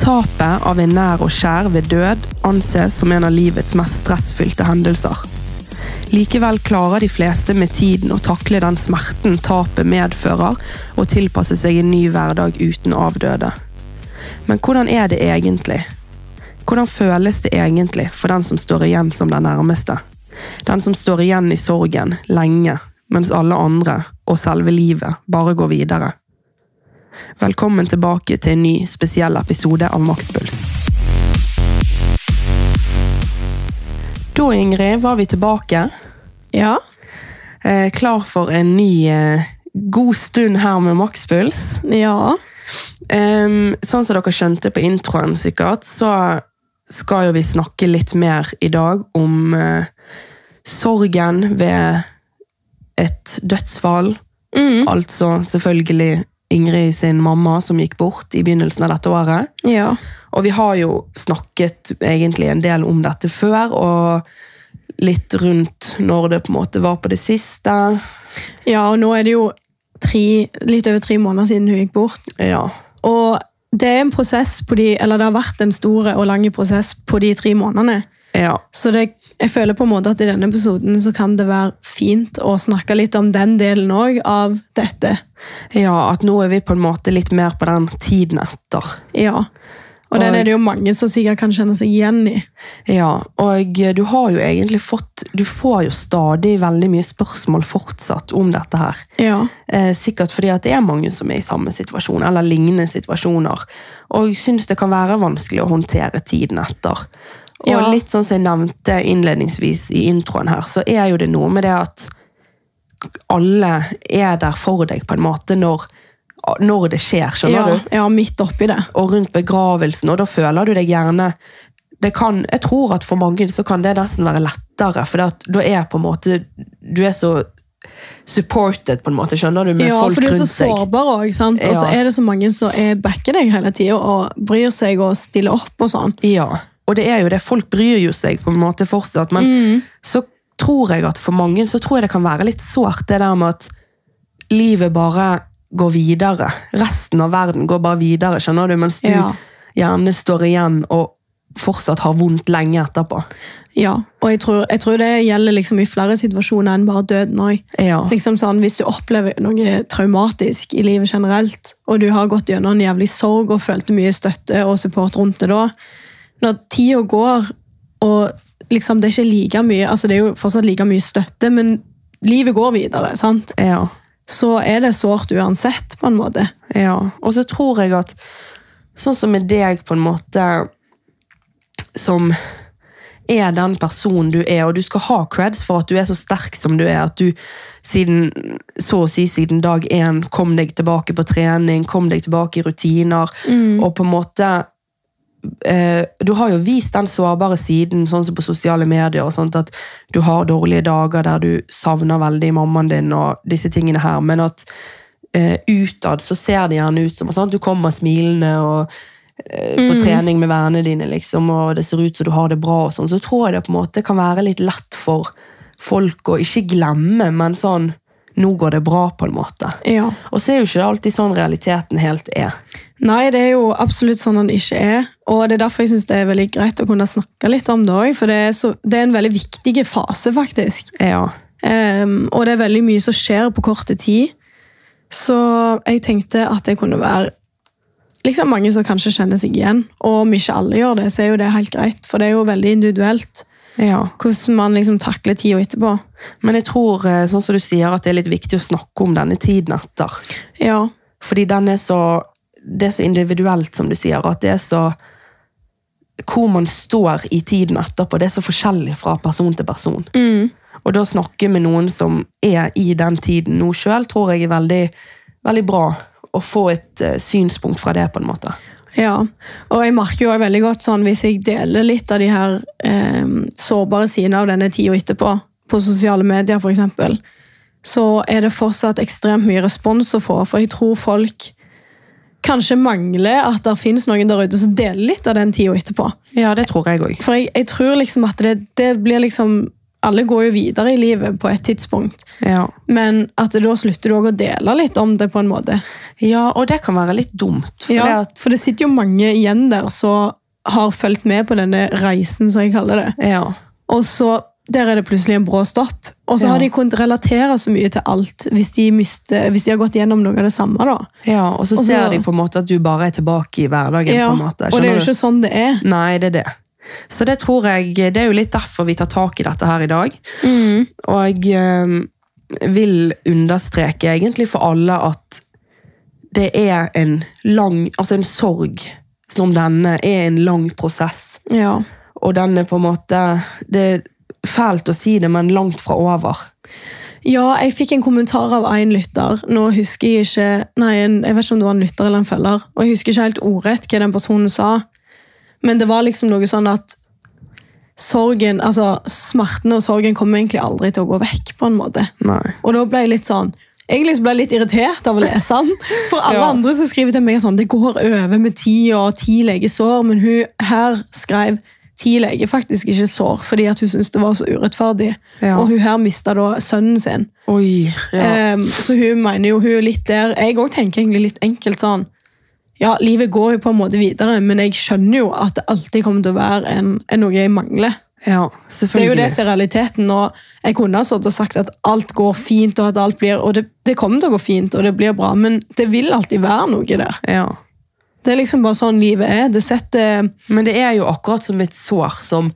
Tapet av en nær og kjær ved død anses som en av livets mest stressfylte hendelser. Likevel klarer de fleste med tiden å takle den smerten tapet medfører, og tilpasse seg en ny hverdag uten avdøde. Men hvordan er det egentlig? Hvordan føles det egentlig for den som står igjen som den nærmeste? Den som står igjen i sorgen lenge, mens alle andre, og selve livet, bare går videre. Velkommen tilbake til en ny, spesiell episode av Makspuls. Da, Ingrid, var vi tilbake. Ja. Eh, klar for en ny eh, god stund her med Makspuls. Ja. Ehm, sånn som dere skjønte på introen sikkert, så skal jo vi snakke litt mer i dag om eh, sorgen ved et dødsfall. Altså selvfølgelig Ingrid sin mamma som gikk bort i begynnelsen av dette året. Ja. Og vi har jo snakket egentlig en del om dette før, og litt rundt når det på en måte var på det siste. ja, og nå er det jo tre, litt over tre måneder siden hun gikk bort. Ja, Og det er en prosess på de, eller det har vært en stor og lang prosess på de tre månedene. ja, Så det, jeg føler på en måte at i denne episoden så kan det være fint å snakke litt om den delen òg av dette. ja, at nå er vi på en måte litt mer på den tiden etter. Ja. Og den er det jo mange som sikkert kan kjenne seg igjen i. Ja, og du har jo egentlig fått Du får jo stadig veldig mye spørsmål fortsatt om dette her. Ja. Eh, sikkert fordi at det er mange som er i samme situasjon, eller lignende situasjoner. Og syns det kan være vanskelig å håndtere tiden etter. Og Ja. litt sånn som jeg nevnte innledningsvis i introen her, så er jo det noe med det at alle er der for deg på en måte når, når det skjer, skjønner Ja, du? ja, midt oppi det. og rundt begravelsen, og da føler du deg gjerne det kan, Jeg tror at for mange så kan det nesten være lettere, for det at, da er på en måte Du er så supported, på en måte, skjønner du, med Ja, folk for du er så rundt deg. sårbar òg, sant. Og så Ja. er det så mange som er backer deg hele tida og bryr seg og stiller opp og sånn. Ja, og det er jo det. Folk bryr jo seg på en måte fortsatt, men Mm. så tror jeg at for mange så tror jeg det kan være litt sårt det der med at livet bare går videre. Resten av verden går bare videre, skjønner du, mens du Ja. gjerne står igjen og fortsatt har vondt lenge etterpå. Ja, og jeg tror, jeg tror det gjelder liksom i flere situasjoner enn bare døden òg. Ja. Liksom sånn, hvis du opplever noe traumatisk i livet generelt, og du har gått gjennom en jævlig sorg og følte mye støtte og support rundt det da, når tida går, og liksom det er ikke like mye, altså det er jo fortsatt like mye støtte, men livet går videre, sant? Ja, Så er det sårt uansett, på en måte. ja. Og så tror jeg at sånn som med deg på en måte som er den personen du er, og du skal ha creds for at du er så sterk som du er, at du siden, så å si siden dag én kom deg tilbake på trening, kom deg tilbake i rutiner, og på en måte eh, du har jo vist den sårbare siden, sånn som på sosiale medier, og sånt, at du har dårlige dager der du savner veldig mammaen din og disse tingene her, men at eh, utad så ser det gjerne ut som sånn, du kommer smilende og eh, på trening med vennene dine, liksom, og det ser ut som du har det bra og sånn, så tror jeg det på en måte kan være litt lett for folk å ikke glemme, men sånn, nå går det bra på en måte. Ja. Og så er jo ikke det alltid sånn realiteten helt er. Nei, det er jo absolutt sånn han ikke er. Og det er derfor jeg synes det er veldig greit å kunne snakke litt om det òg, for det er, så, det er en veldig viktig fase, faktisk. Ja, Ehm, og det er veldig mye som skjer på korte tid. Så jeg tenkte at det kunne være liksom mange som kanskje kjenner seg igjen. Og om ikke alle gjør det, så er jo det helt greit, for det er jo veldig individuelt ja. hvordan man liksom takler tida etterpå. Men jeg tror, eh, sånn som du sier, at det er litt viktig å snakke om denne tiden etter. Ja, Fordi den er så, det er så individuelt, som du sier, at det er så Hvor man står i tiden etterpå, det er så forskjellig fra person til person. Og da snakke med noen som er i den tiden nå sjøl, tror jeg er veldig, veldig bra. Å få et eh, synspunkt fra det, på en måte. Ja, og jeg merker jo også veldig godt sånn hvis jeg deler litt av de her eh, sårbare sidene av denne tida etterpå, på sosiale medier f.eks., så er det fortsatt ekstremt mye respons å få. For jeg tror folk kanskje mangler at det finnes noen der ute som deler litt av den tida etterpå. Ja, det tror jeg òg. For jeg, jeg tror liksom at det, det blir liksom Alle går jo videre i livet på et tidspunkt, Ja. men at da slutter du òg å dele litt om det, på en måte. Ja, og det kan være litt dumt. For Ja, det at, for det sitter jo mange igjen der som har fulgt med på denne reisen, som jeg kaller det. ja. Og så der er det plutselig en brå stopp. Og så Ja. har de kunnet relatere så mye til alt hvis de, mister, hvis de har gått gjennom noe av det samme. da. ja, og så Og så- ser de på en måte at du bare er tilbake i hverdagen. Ja, på en måte. og det er jo skjønner du? ikke sånn det er. Nei, det er det. Så det tror jeg, det er jo litt derfor vi tar tak i dette her i dag. Mm. Og jeg eh, vil understreke egentlig for alle at det er en lang Altså en sorg som denne er en lang prosess. Ja. Og den er på en måte Det er fælt å si det, men langt fra over. ja, jeg fikk en kommentar av en lytter. Nå husker jeg ikke nei, en, jeg vet ikke om det var en lytter eller en følger. Og jeg husker ikke helt ordrett hva den personen sa. Men det var liksom noe sånn at sorgen, altså smertene og sorgen kommer egentlig aldri til å gå vekk. på en måte. Nei. Og da ble jeg litt sånn Egentlig så ble jeg litt irritert av å lese den. For alle Ja. andre som skriver til meg er sånn, det går over med ti og ti legesår, men hun her skrev ti leger faktisk ikke sår, fordi at hun syntes det var så urettferdig. Ja. Og hun her mista da sønnen sin. Oi. Ja. Ehm, så hun mener jo hun er litt der. Jeg òg tenker egentlig litt enkelt sånn Ja, livet går jo på en måte videre, men jeg skjønner jo at det alltid kommer til å være en, en noe jeg mangler. ja, Det er jo selvfølgelig. det som er realiteten. og Jeg kunne ha stått og sagt at alt går fint, og at alt blir, og det, det kommer til å gå fint, og det blir bra, men det vil alltid være noe der. Ja. Det er liksom bare sånn livet er. Det setter, Men det er jo akkurat som et sår som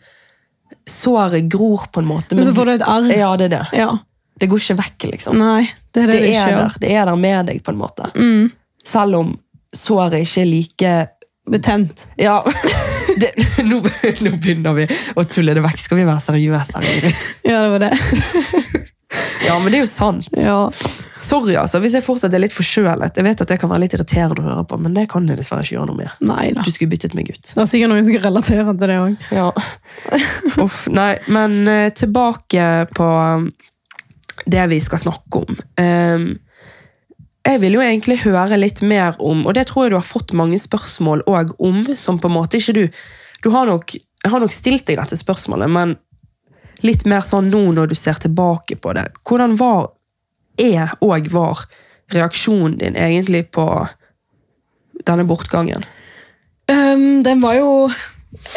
Såret gror, på en måte. Men så får du et arr. Ja, det er det. Ja. Det går ikke vekk, liksom. Nei, det er det Det det, er ikke gjør. der, det er der med deg, på en måte. Mm. Selv om såret ikke er like Betent. Ja. Det, nå, nå begynner vi å tulle det vekk. Skal vi være seriøse? her, Ingrid? Ja, det var det. Ja, men det er jo sant. Ja. Sorry, altså, hvis jeg fortsatt er litt forkjølet. Jeg vet at det kan være litt irriterende å høre på, men det kan jeg dessverre ikke gjøre noe med. Nei da. Du skulle byttet meg ut. Det er sikkert noen som kan relatere til det òg. Ja. Uff, nei, men eh, tilbake på um, det vi skal snakke om. Ehm, jeg vil jo egentlig høre litt mer om, og det tror jeg du har fått mange spørsmål òg om, som på en måte ikke du Du har nok, jeg har nok stilt deg dette spørsmålet, men litt mer sånn nå når du ser tilbake på det. Hvordan var, er og var reaksjonen din egentlig på denne bortgangen? Um, den var jo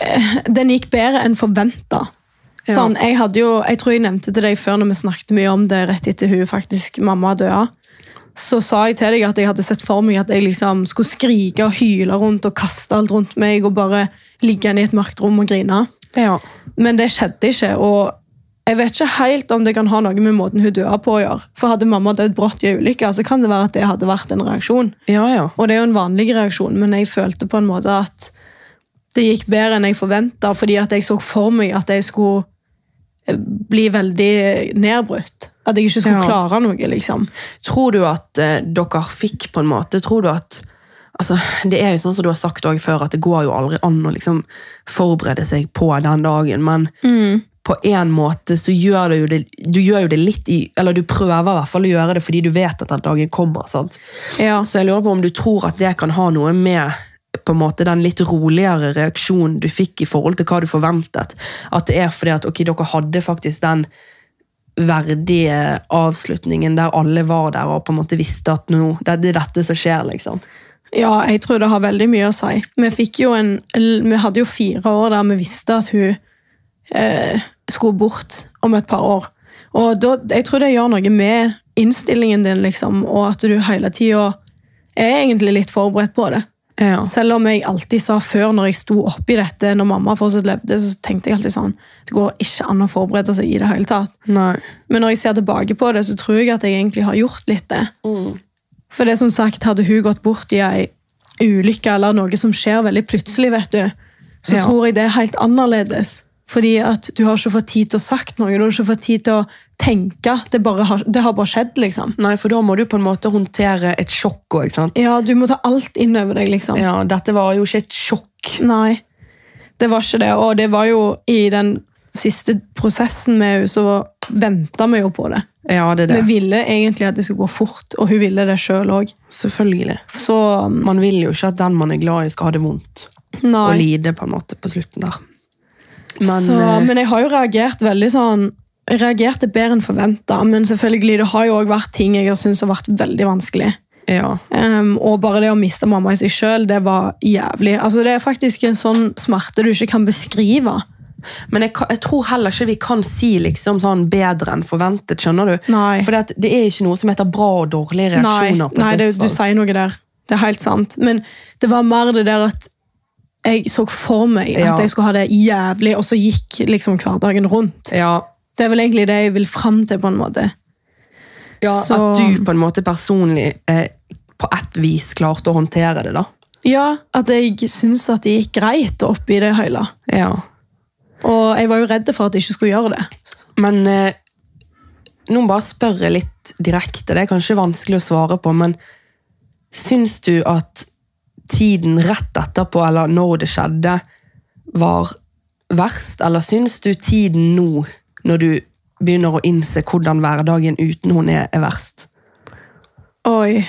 eh, Den gikk bedre enn forventa. Ja. Sånn, jeg, hadde jo, jeg tror jeg nevnte til deg før når vi snakket mye om det rett etter hun faktisk mamma døde. Så sa jeg til deg at jeg hadde sett for meg at jeg liksom skulle skrike og hyle rundt og kaste alt rundt meg og bare ligge inne i et mørkt rom og grine. Ja. Men det skjedde ikke. og jeg vet ikke helt om det kan ha noe med måten hun døde på å gjøre. For Hadde mamma dødd brått i en ulykke, så kan det være at det hadde vært en reaksjon. Ja, ja. Og det er jo en vanlig reaksjon, men jeg følte på en måte at det gikk bedre enn jeg forventa, fordi at jeg så for meg at jeg skulle eh, bli veldig nedbrutt. At jeg ikke skulle Ja. klare noe, liksom. Tror du at eh, dere fikk på en måte Tror du at altså, Det er jo sånn som du har sagt også før, at det går jo aldri an å liksom forberede seg på den dagen, men på en måte så gjør du jo det, du gjør jo det litt i Eller du prøver i hvert fall å gjøre det fordi du vet at den dagen kommer. sant? Ja. Så Altså, jeg lurer på om du tror at det kan ha noe med på en måte den litt roligere reaksjonen du fikk i forhold til hva du forventet. At det er fordi at ok, dere hadde faktisk den verdige avslutningen der alle var der og på en måte visste at nå, det det er dette som skjer, liksom. ja, jeg tror det har veldig mye å si. Vi, fikk jo en, eller, vi hadde jo fire år der vi visste at hun eh, skulle bort om et par år. Og da, jeg tror det gjør noe med innstillingen din, liksom, og at du hele tida er egentlig litt forberedt på det. Ja. Selv om jeg alltid sa før når jeg sto oppi dette, når mamma fortsatt levde, så tenkte jeg alltid sånn Det går ikke an å forberede seg i det hele tatt. Nei. Men når jeg ser tilbake på det, så tror jeg at jeg egentlig har gjort litt det. For det som sagt, hadde hun gått bort i ei ulykke eller noe som skjer veldig plutselig, vet du, så Ja. tror jeg det er helt annerledes. Fordi at du har ikke fått tid til å sagt noe, du har ikke fått tid til å tenke. Det, bare har, det har bare skjedd, liksom. Nei, for da må du på en måte håndtere et sjokk òg, sant? Ja, du må ta alt inn over deg, liksom. Ja, dette var jo ikke et sjokk. Nei, det var ikke det. Og det var jo i den siste prosessen med henne, så venta vi jo på det. Ja, det er det. Vi ville egentlig at det skulle gå fort, og hun ville det sjøl òg. Selvfølgelig. Så um, Man vil jo ikke at den man er glad i, skal ha det vondt. Og nei. lide, på en måte, på slutten der. Men, Men, så, eh, men jeg har jo reagert veldig sånn jeg reagerte bedre enn forventa, men selvfølgelig, det har jo også vært ting jeg har syntes har vært veldig vanskelig. Ja. Ehm, og bare det å miste mamma i seg sjøl, det var jævlig. Altså, det er faktisk en sånn smerte du ikke kan beskrive. Men jeg, kan- jeg tror heller ikke vi kan si liksom sånn bedre enn forventet, skjønner du? Nei. For det er ikke noe som heter bra og dårlige Nei, reaksjoner på nei et det, du dødsfall. sier noe der. Det er helt sant. Men det var mer det der at jeg så for meg at Ja. jeg skulle ha det jævlig, og så gikk liksom hverdagen rundt. Ja, Det er vel egentlig det jeg vil fram til, på en måte. ja Så- at du på en måte personlig eh, på ett vis klarte å håndtere det, da. Ja, at jeg syns at det gikk greit oppi det hele. Ja. Og jeg var jo redd for at jeg ikke skulle gjøre det. Men eh, nå bare spør jeg litt direkte, det er kanskje vanskelig å svare på, men syns du at tiden rett etterpå, eller når det skjedde, var verst? Eller syns du tiden nå, når du begynner å innse hvordan hverdagen uten hun er, er verst? Oi.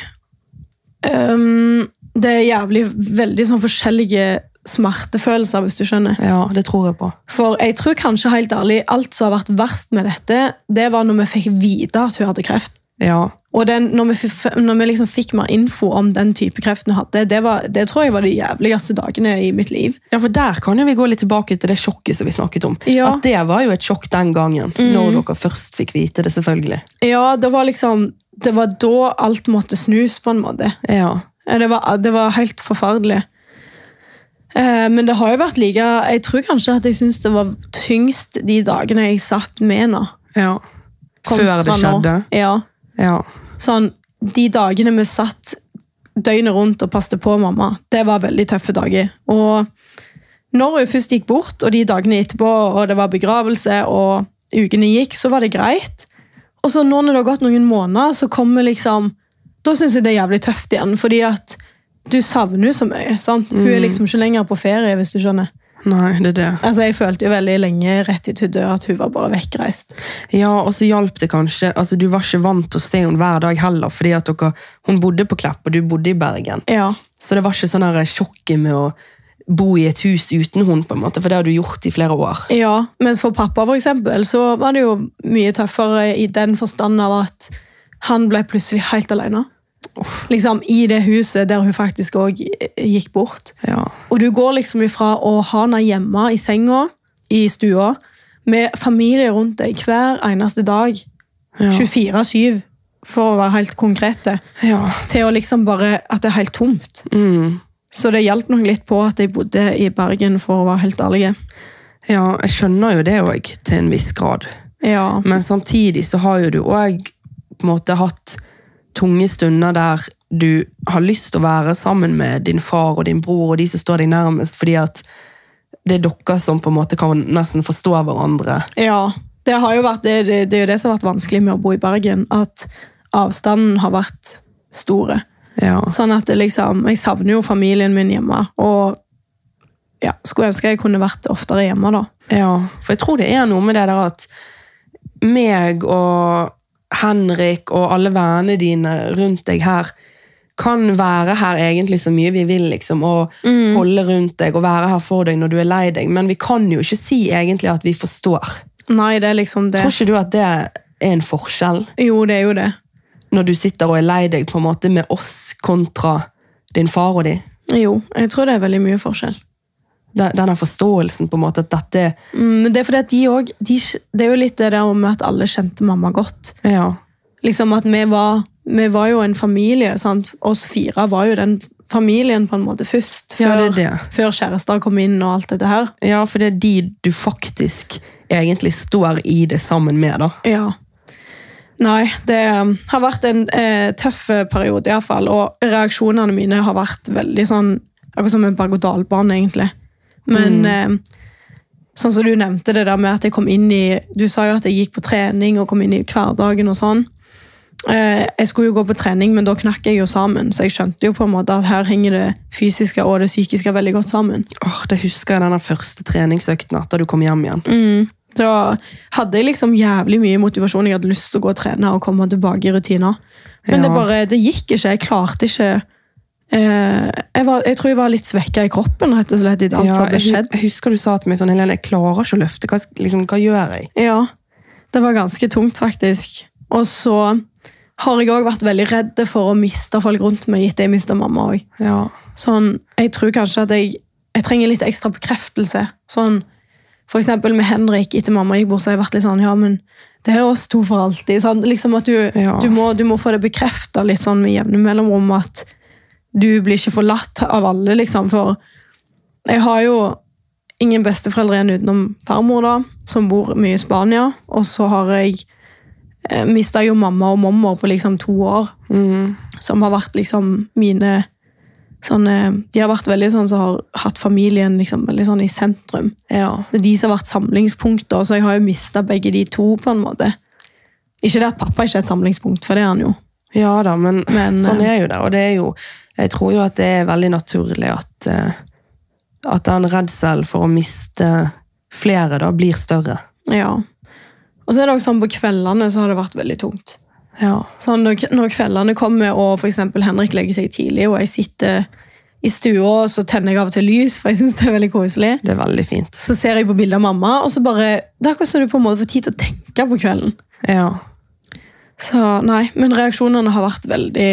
Ehm, det er jævlig veldig sånn forskjellige smertefølelser, hvis du skjønner. Ja, det tror jeg på. For jeg tror kanskje helt ærlig, alt som har vært verst med dette, det var når vi fikk vite at hun hadde kreft. Ja, Og den, når vi, f- når vi liksom fikk mer info om den type kreft hun hadde, det, var, det tror jeg var de jævligste dagene i mitt liv. ja for der kan jo vi gå litt tilbake til det sjokket som vi snakket om. Ja. At det var jo et sjokk den gangen, når dere først fikk vite det, selvfølgelig. Ja, det var liksom Det var da alt måtte snus, på en måte. Ja, Eh, Det var, det var helt forferdelig. Eh, Men det har jo vært like Jeg tror kanskje at jeg syns det var tyngst de dagene jeg satt med henne. ja. Før det kontra nå. skjedde. Ja. Ja. sånn, de dagene vi satt døgnet rundt og passte på mamma, det var veldig tøffe dager. Og når hun først gikk bort, og de dagene etterpå, og det var begravelse, og ukene gikk, så var det greit. Og så nå når det har gått noen måneder, så kommer liksom Da syns jeg det er jævlig tøft igjen, fordi at du savner henne så mye. sant? Hun er liksom ikke lenger på ferie, hvis du skjønner. Nei, det er det. Altså, Jeg følte jo veldig lenge rett etter hun døde, at hun var bare vekkreist. Ja, og så hjalp det kanskje. Altså, du var ikke vant til å se henne hver dag heller, fordi at dere, hun bodde på Klepp, og du bodde i Bergen. Ja. Så det var ikke sånn her sjokket med å bo i et hus uten henne, på en måte, for det har du gjort i flere år. Ja, mens for pappa for eksempel, så var det jo mye tøffere i den forstand av at han ble plutselig helt alene. Liksom i det huset der hun faktisk òg gikk bort. Ja. Og du går liksom ifra å ha henne hjemme i senga, i stua, med familie rundt deg hver eneste dag, Ja. 24-7, for å være helt konkrete, ja. til å liksom bare at det er helt tomt. Mm. Så det hjalp nok litt på at jeg bodde i Bergen, for å være helt ærlig. ja, jeg skjønner jo det òg, til en viss grad. Ja. Men samtidig så har jo du òg på en måte hatt tunge stunder der du har lyst til å være sammen med din far og din bror og de som står deg nærmest, fordi at det er dere som på en måte kan nesten forstå hverandre. Ja, det har jo vært det, det, det er jo det som har vært vanskelig med å bo i Bergen, at avstanden har vært store. Ja. Sånn at det liksom, jeg savner jo familien min hjemme, og ja, skulle ønske jeg kunne vært oftere hjemme da. For jeg tror det er noe med det der at meg og Henrik og alle vennene dine rundt deg her kan være her egentlig så mye vi vil, liksom, og holde rundt deg og være her for deg når du er lei deg, men vi kan jo ikke si egentlig at vi forstår. Nei, det er liksom det. Tror ikke du at det er en forskjell Jo, det er jo det. når du sitter og er lei deg på en måte med oss kontra din far og de? Jo, jeg tror det er veldig mye forskjell. Den- Denne forståelsen på en måte at dette Mm, Men det er fordi at de også, de, det er jo litt det der med at alle kjente mamma godt. Ja. Liksom at vi var, vi var jo en familie, sant? Oss fire var jo den familien på en måte først. Ja, det er det. før kjærester kom inn og alt dette her. ja, for det er de du faktisk egentlig står i det sammen med, da. Ja. Nei, det um, har vært en eh, tøff periode iallfall. Og reaksjonene mine har vært veldig sånn Akkurat som en berg-og-dal-bane, egentlig. Men eh, sånn som du nevnte det der med at jeg kom inn i Du sa jo at jeg gikk på trening og kom inn i hverdagen og sånn. Eh, jeg skulle jo gå på trening, men da knakk jeg jo sammen. Så jeg skjønte jo på en måte at her henger det fysiske og det psykiske veldig godt sammen. Åh, det husker jeg denne første treningsøkten etter du kom hjem igjen. Så hadde jeg liksom jævlig mye motivasjon. Jeg hadde lyst til å gå og trene og komme tilbake i rutiner. Men det Ja. bare, det gikk ikke. Jeg klarte ikke eh, jeg, var, jeg tror jeg var litt svekka i kroppen rett og slett, i alt som Ja, hadde jeg, skjedd. Altså, hu- jeg husker du sa til meg sånn, Helene, jeg klarer ikke å løfte. Hva, sk- liksom, hva gjør jeg? Ja, det var ganske tungt, faktisk. Og så har jeg òg vært veldig redd for å miste folk rundt meg etter jeg mista mamma òg. Ja. Sånn, jeg tror kanskje at jeg, jeg trenger litt ekstra bekreftelse. Sånn, for eksempel med Henrik etter mamma gikk bort, så har jeg vært litt sånn Ja, men det er oss to for alltid. sant? Liksom at du, Ja. du, må, du må få det bekrefta litt sånn med jevne mellomrom at du blir ikke forlatt av alle, liksom. For jeg har jo ingen besteforeldre igjen utenom farmor, da, som bor mye i Spania. Og så har jeg mista jo mamma og mormor på liksom to år Mm. som har vært liksom mine sånne, De har vært veldig sånn som har hatt familien liksom, veldig sånn i sentrum. ja. Det er de som har vært samlingspunkter, så jeg har jo mista begge de to. på en måte. Ikke det at pappa ikke er et samlingspunkt, for det er han jo. Ja da, men, Men, sånn eh, er jo det. Og det er jo Jeg tror jo at det er veldig naturlig at eh, at den redselen for å miste flere da blir større. Ja. Og så er det også sånn på kveldene så har det vært veldig tungt. Ja. Sånn, når, når kveldene kommer, og for eksempel Henrik legger seg tidlig, og jeg sitter i stua, og så tenner jeg av og til lys, for jeg syns det er veldig koselig. Det er veldig fint. Så ser jeg på bildet av mamma, og så bare Det er akkurat som du på en måte får tid til å tenke på kvelden. Ja. Så nei, men reaksjonene har vært veldig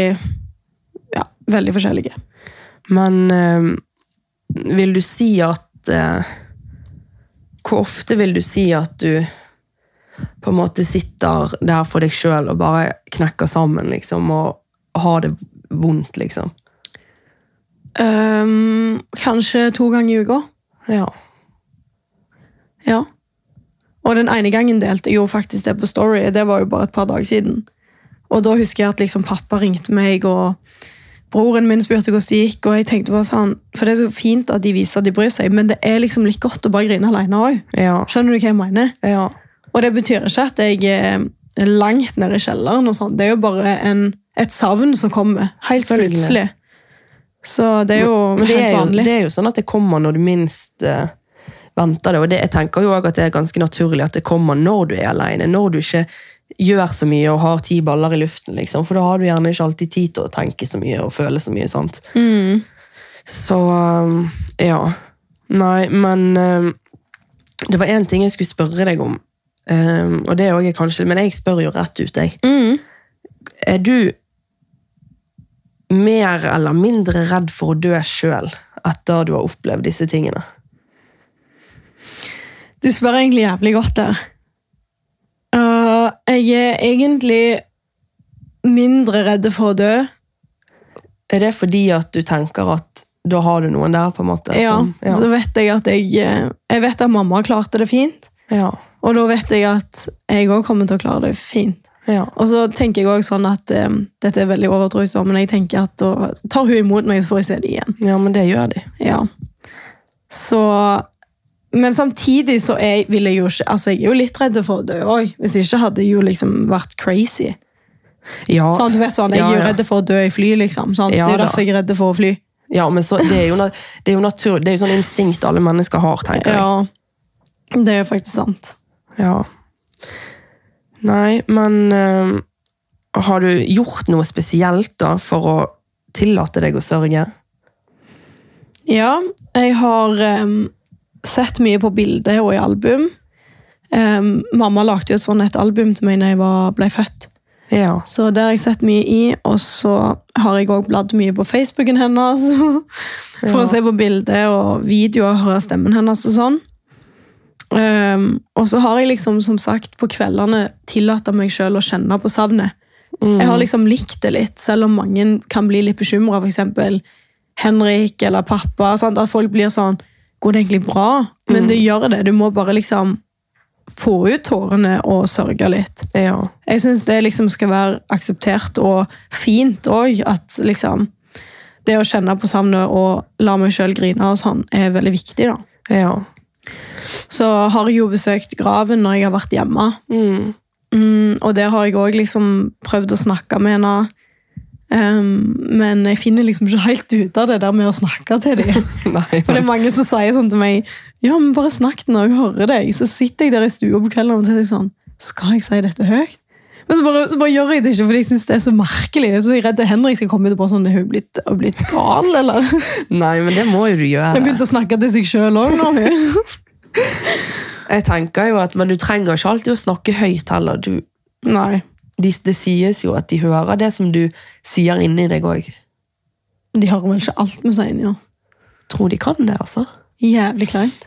ja, veldig forskjellige. Men eh, vil du si at eh, Hvor ofte vil du si at du på en måte sitter der for deg sjøl og bare knekker sammen, liksom, og har det vondt, liksom? Ehm, kanskje to ganger i uka. Ja. Ja. Og den ene gangen delte jeg jo faktisk det på Story. Det var jo bare et par dager siden. Og da husker jeg at liksom pappa ringte meg, og broren min spurte hvordan det gikk. og jeg tenkte bare sånn, For det er så fint at de viser at de bryr seg, men det er liksom litt godt å bare grine alene òg. Ja. Skjønner du hva jeg mener? Ja. Og det betyr ikke at jeg eh, er langt nede i kjelleren. og sånt. Det er jo bare en, et savn som kommer, helt Selvfølgelig. plutselig. Så det er jo Men det helt er jo, vanlig. det er jo sånn at det kommer når du minst eh, venter det. Og det, jeg tenker jo også at det er ganske naturlig at det kommer når du er alene. Når du ikke gjør så mye og har ti baller i luften, liksom. For da har du gjerne ikke alltid tid til å tenke så mye og føle så mye. sant? Mm. Så um, ja. Nei, men um, det var én ting jeg skulle spørre deg om. Um, og det er også kanskje, Men jeg spør jo rett ut, jeg. Mm. Er du mer eller mindre redd for å dø sjøl etter du har opplevd disse tingene? Du spør egentlig jævlig godt der. Uh, jeg er egentlig mindre redd for å dø. Er det fordi at du tenker at da har du noen der, på en måte? Ja, som- Da vet jeg at jeg eh, Jeg vet at mamma klarte det fint, ja, og da vet jeg at jeg òg kommer til å klare det fint. ja, Og så tenker jeg også sånn at eh, Dette er veldig overtroisk, men jeg tenker at da tar hun imot meg, så får jeg se det igjen. ja, men det gjør de. Ja. Så Men samtidig så er, vil jeg jo ikke Altså, jeg er jo litt redd for å dø òg. Hvis ikke hadde jeg jo liksom vært crazy. Ja, Sånn, du vet sånn, Jeg Ja, er jo ja. redd for å dø i fly, liksom. sant? Ja, det er jo da. derfor jeg er redd for å fly. ja men så, det er jo, na- det er jo natur, det er jo sånn instinkt alle mennesker har, tenker jeg. Ja. Det er jo faktisk sant. Ja. Nei, men eh, har du gjort noe spesielt da for å tillate deg å sørge? Ja, jeg har em, sett mye på bilder og i album. Em, mamma lagde jo et sånn et album til meg da jeg var, ble født. Ja. Så det har jeg sett mye i, og så har jeg også bladd mye på Facebooken hennes. For Ja. å se på bilder og videoer og høre stemmen hennes og sånn. Ehm, og så har jeg liksom, som sagt, på kveldene tillatt meg selv å kjenne på savnet. Mm. Jeg har liksom likt det litt, selv om mange kan bli litt bekymra, f.eks. Henrik eller pappa. Sant? At folk blir sånn Går det egentlig bra? Men Mm. det gjør det. Du må bare liksom få ut tårene og sørge litt. ja. Jeg syns det liksom skal være akseptert og fint òg. At liksom Det å kjenne på savnet og la meg sjøl grine og sånn, er veldig viktig. da. Ja. Så har jeg jo besøkt graven når jeg har vært hjemme. Mm. Mm, og der har jeg òg liksom prøvd å snakke med henne. Ehm, men jeg finner liksom ikke helt ut av det der med å snakke til dem. Nei, For men, det er mange som sier sånn til meg Ja, men bare snakk når hun hører deg. Så sitter jeg der i stua på kvelden og tenker sånn Skal jeg si dette høyt? Men så bare, så bare gjør jeg det ikke, fordi jeg syns det er så merkelig. Så jeg er redd Henrik skal komme ut og bare sånn Er hun blitt, er hun blitt gal, eller? nei, men det må jo du Hun gjøre. begynte å snakke til seg sjøl òg nå. hun. Jeg tenker jo at, Men du trenger ikke alltid å snakke høyt heller. Du, Nei. de, det sies jo at de hører det som du sier inni deg òg. De hører vel ikke alt vi sier inni ja. Tror de kan det, altså? Jævlig kleint.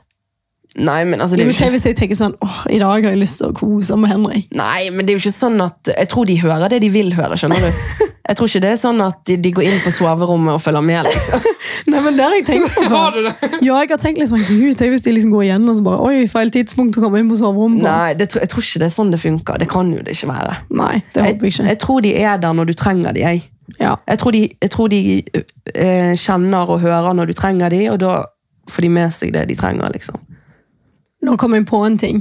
Nei, men altså, det er Jo, men jo ikke tenk Hvis jeg tenker sånn åh, i dag har jeg lyst til å kose med Henrik. Nei, men det er jo ikke sånn at Jeg tror de hører det de vil høre, skjønner du. Jeg tror ikke det er sånn at de, de går inn på soverommet og følger med, liksom. Nei, men det har jeg tenkt på. før. du det? Ja, jeg har tenkt litt sånn, gud, tenk hvis de liksom går igjen og så bare Oi, feil tidspunkt å komme inn på soverommet. på. Nei, det, tror- jeg tror ikke det er sånn det funker. Det kan jo det ikke være. Nei, det Jeg, håper jeg ikke. jeg tror de er der når du trenger de, jeg. Ja. Jeg tror de, jeg tror de eh, kjenner og hører når du trenger de, og da får de med seg det de trenger, liksom. Nå kom jeg på en ting.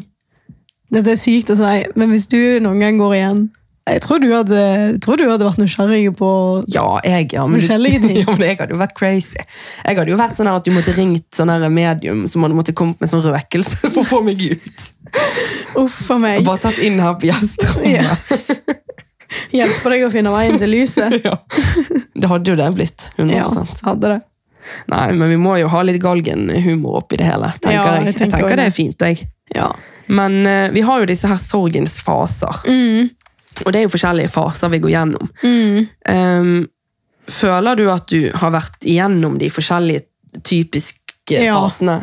Dette er sykt å si, men hvis du noen gang går igjen Jeg tror du hadde, jeg tror du hadde vært nysgjerrig på Ja, jeg, ja. Men, du- Forskjellige ting. ja, men jeg hadde jo vært crazy. Jeg hadde jo vært sånn her at du måtte ringt sånn her medium som hadde måttet kommet med sånn røkelse for å få meg ut. Uff a Og meg. bare tatt inn her på Ja. gjesterommet. Hjelpe deg å finne veien til lyset. Ja. Det hadde jo det blitt. 100 Ja, hadde det. Nei, men vi må jo ha litt galgenhumor oppi det hele, tenker Ja, jeg. jeg Jeg tenker tenker også det er fint, jeg. Ja. Men eh, vi har jo disse her sorgens faser. Mm. Og det er jo forskjellige faser vi går gjennom. Ehm, føler du at du har vært igjennom de forskjellige typiske Ja. fasene?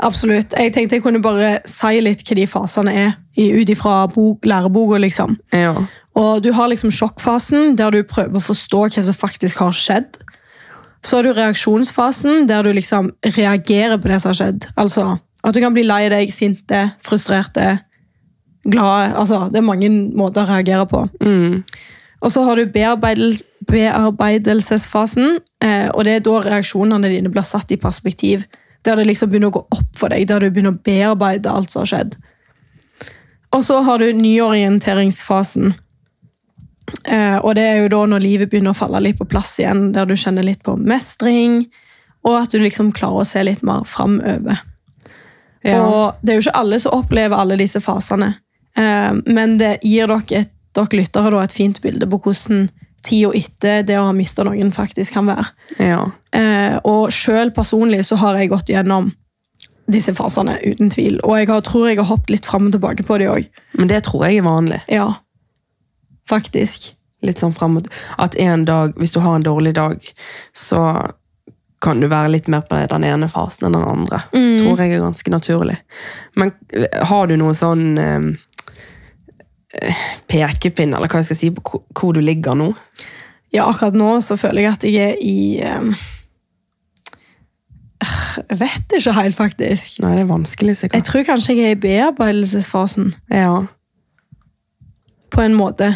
Absolutt. Jeg tenkte jeg kunne bare si litt hva de fasene er, i- ut ifra bok- læreboka, liksom. Ja. Og du har liksom sjokkfasen, der du prøver å forstå hva som faktisk har skjedd. Så har du reaksjonsfasen, der du liksom reagerer på det som har skjedd. Altså at du kan bli lei deg, sinte, frustrerte, glade. Altså, det er mange måter å reagere på. Mm. Og så har du bearbeidel- bearbeidelsesfasen, eh, og det er da reaksjonene dine blir satt i perspektiv. Der det liksom begynner å gå opp for deg, der du begynner å bearbeide alt som har skjedd. Og så har du nyorienteringsfasen. Eh, og det er jo da når livet begynner å falle litt på plass igjen, der du kjenner litt på mestring, og at du liksom klarer å se litt mer framover. Ja. Og det er jo ikke alle som opplever alle disse fasene. Eh, men det gir dere, et, dere lyttere da, et fint bilde på hvordan tida etter det å ha mista noen faktisk kan være. ja. Eh, og sjøl personlig så har jeg gått gjennom disse fasene, uten tvil. Og jeg har, tror jeg har hoppet litt fram og tilbake på de òg. Men det tror jeg er vanlig. Ja. Faktisk. Litt sånn frem mot At en dag, hvis du har en dårlig dag, så kan du være litt mer på den ene fasen enn den andre. Mm. Tror jeg er ganske naturlig. Men eh, har du noen sånn eh, eh, pekepinn, eller hva jeg skal si, på hvor- hvor du ligger nå? Ja, akkurat nå så føler jeg at jeg er i eh, Jeg vet ikke helt, faktisk. Nei, det er vanskelig, Jeg sikkert. tror kanskje jeg er i bearbeidelsesfasen, Ja, på en måte.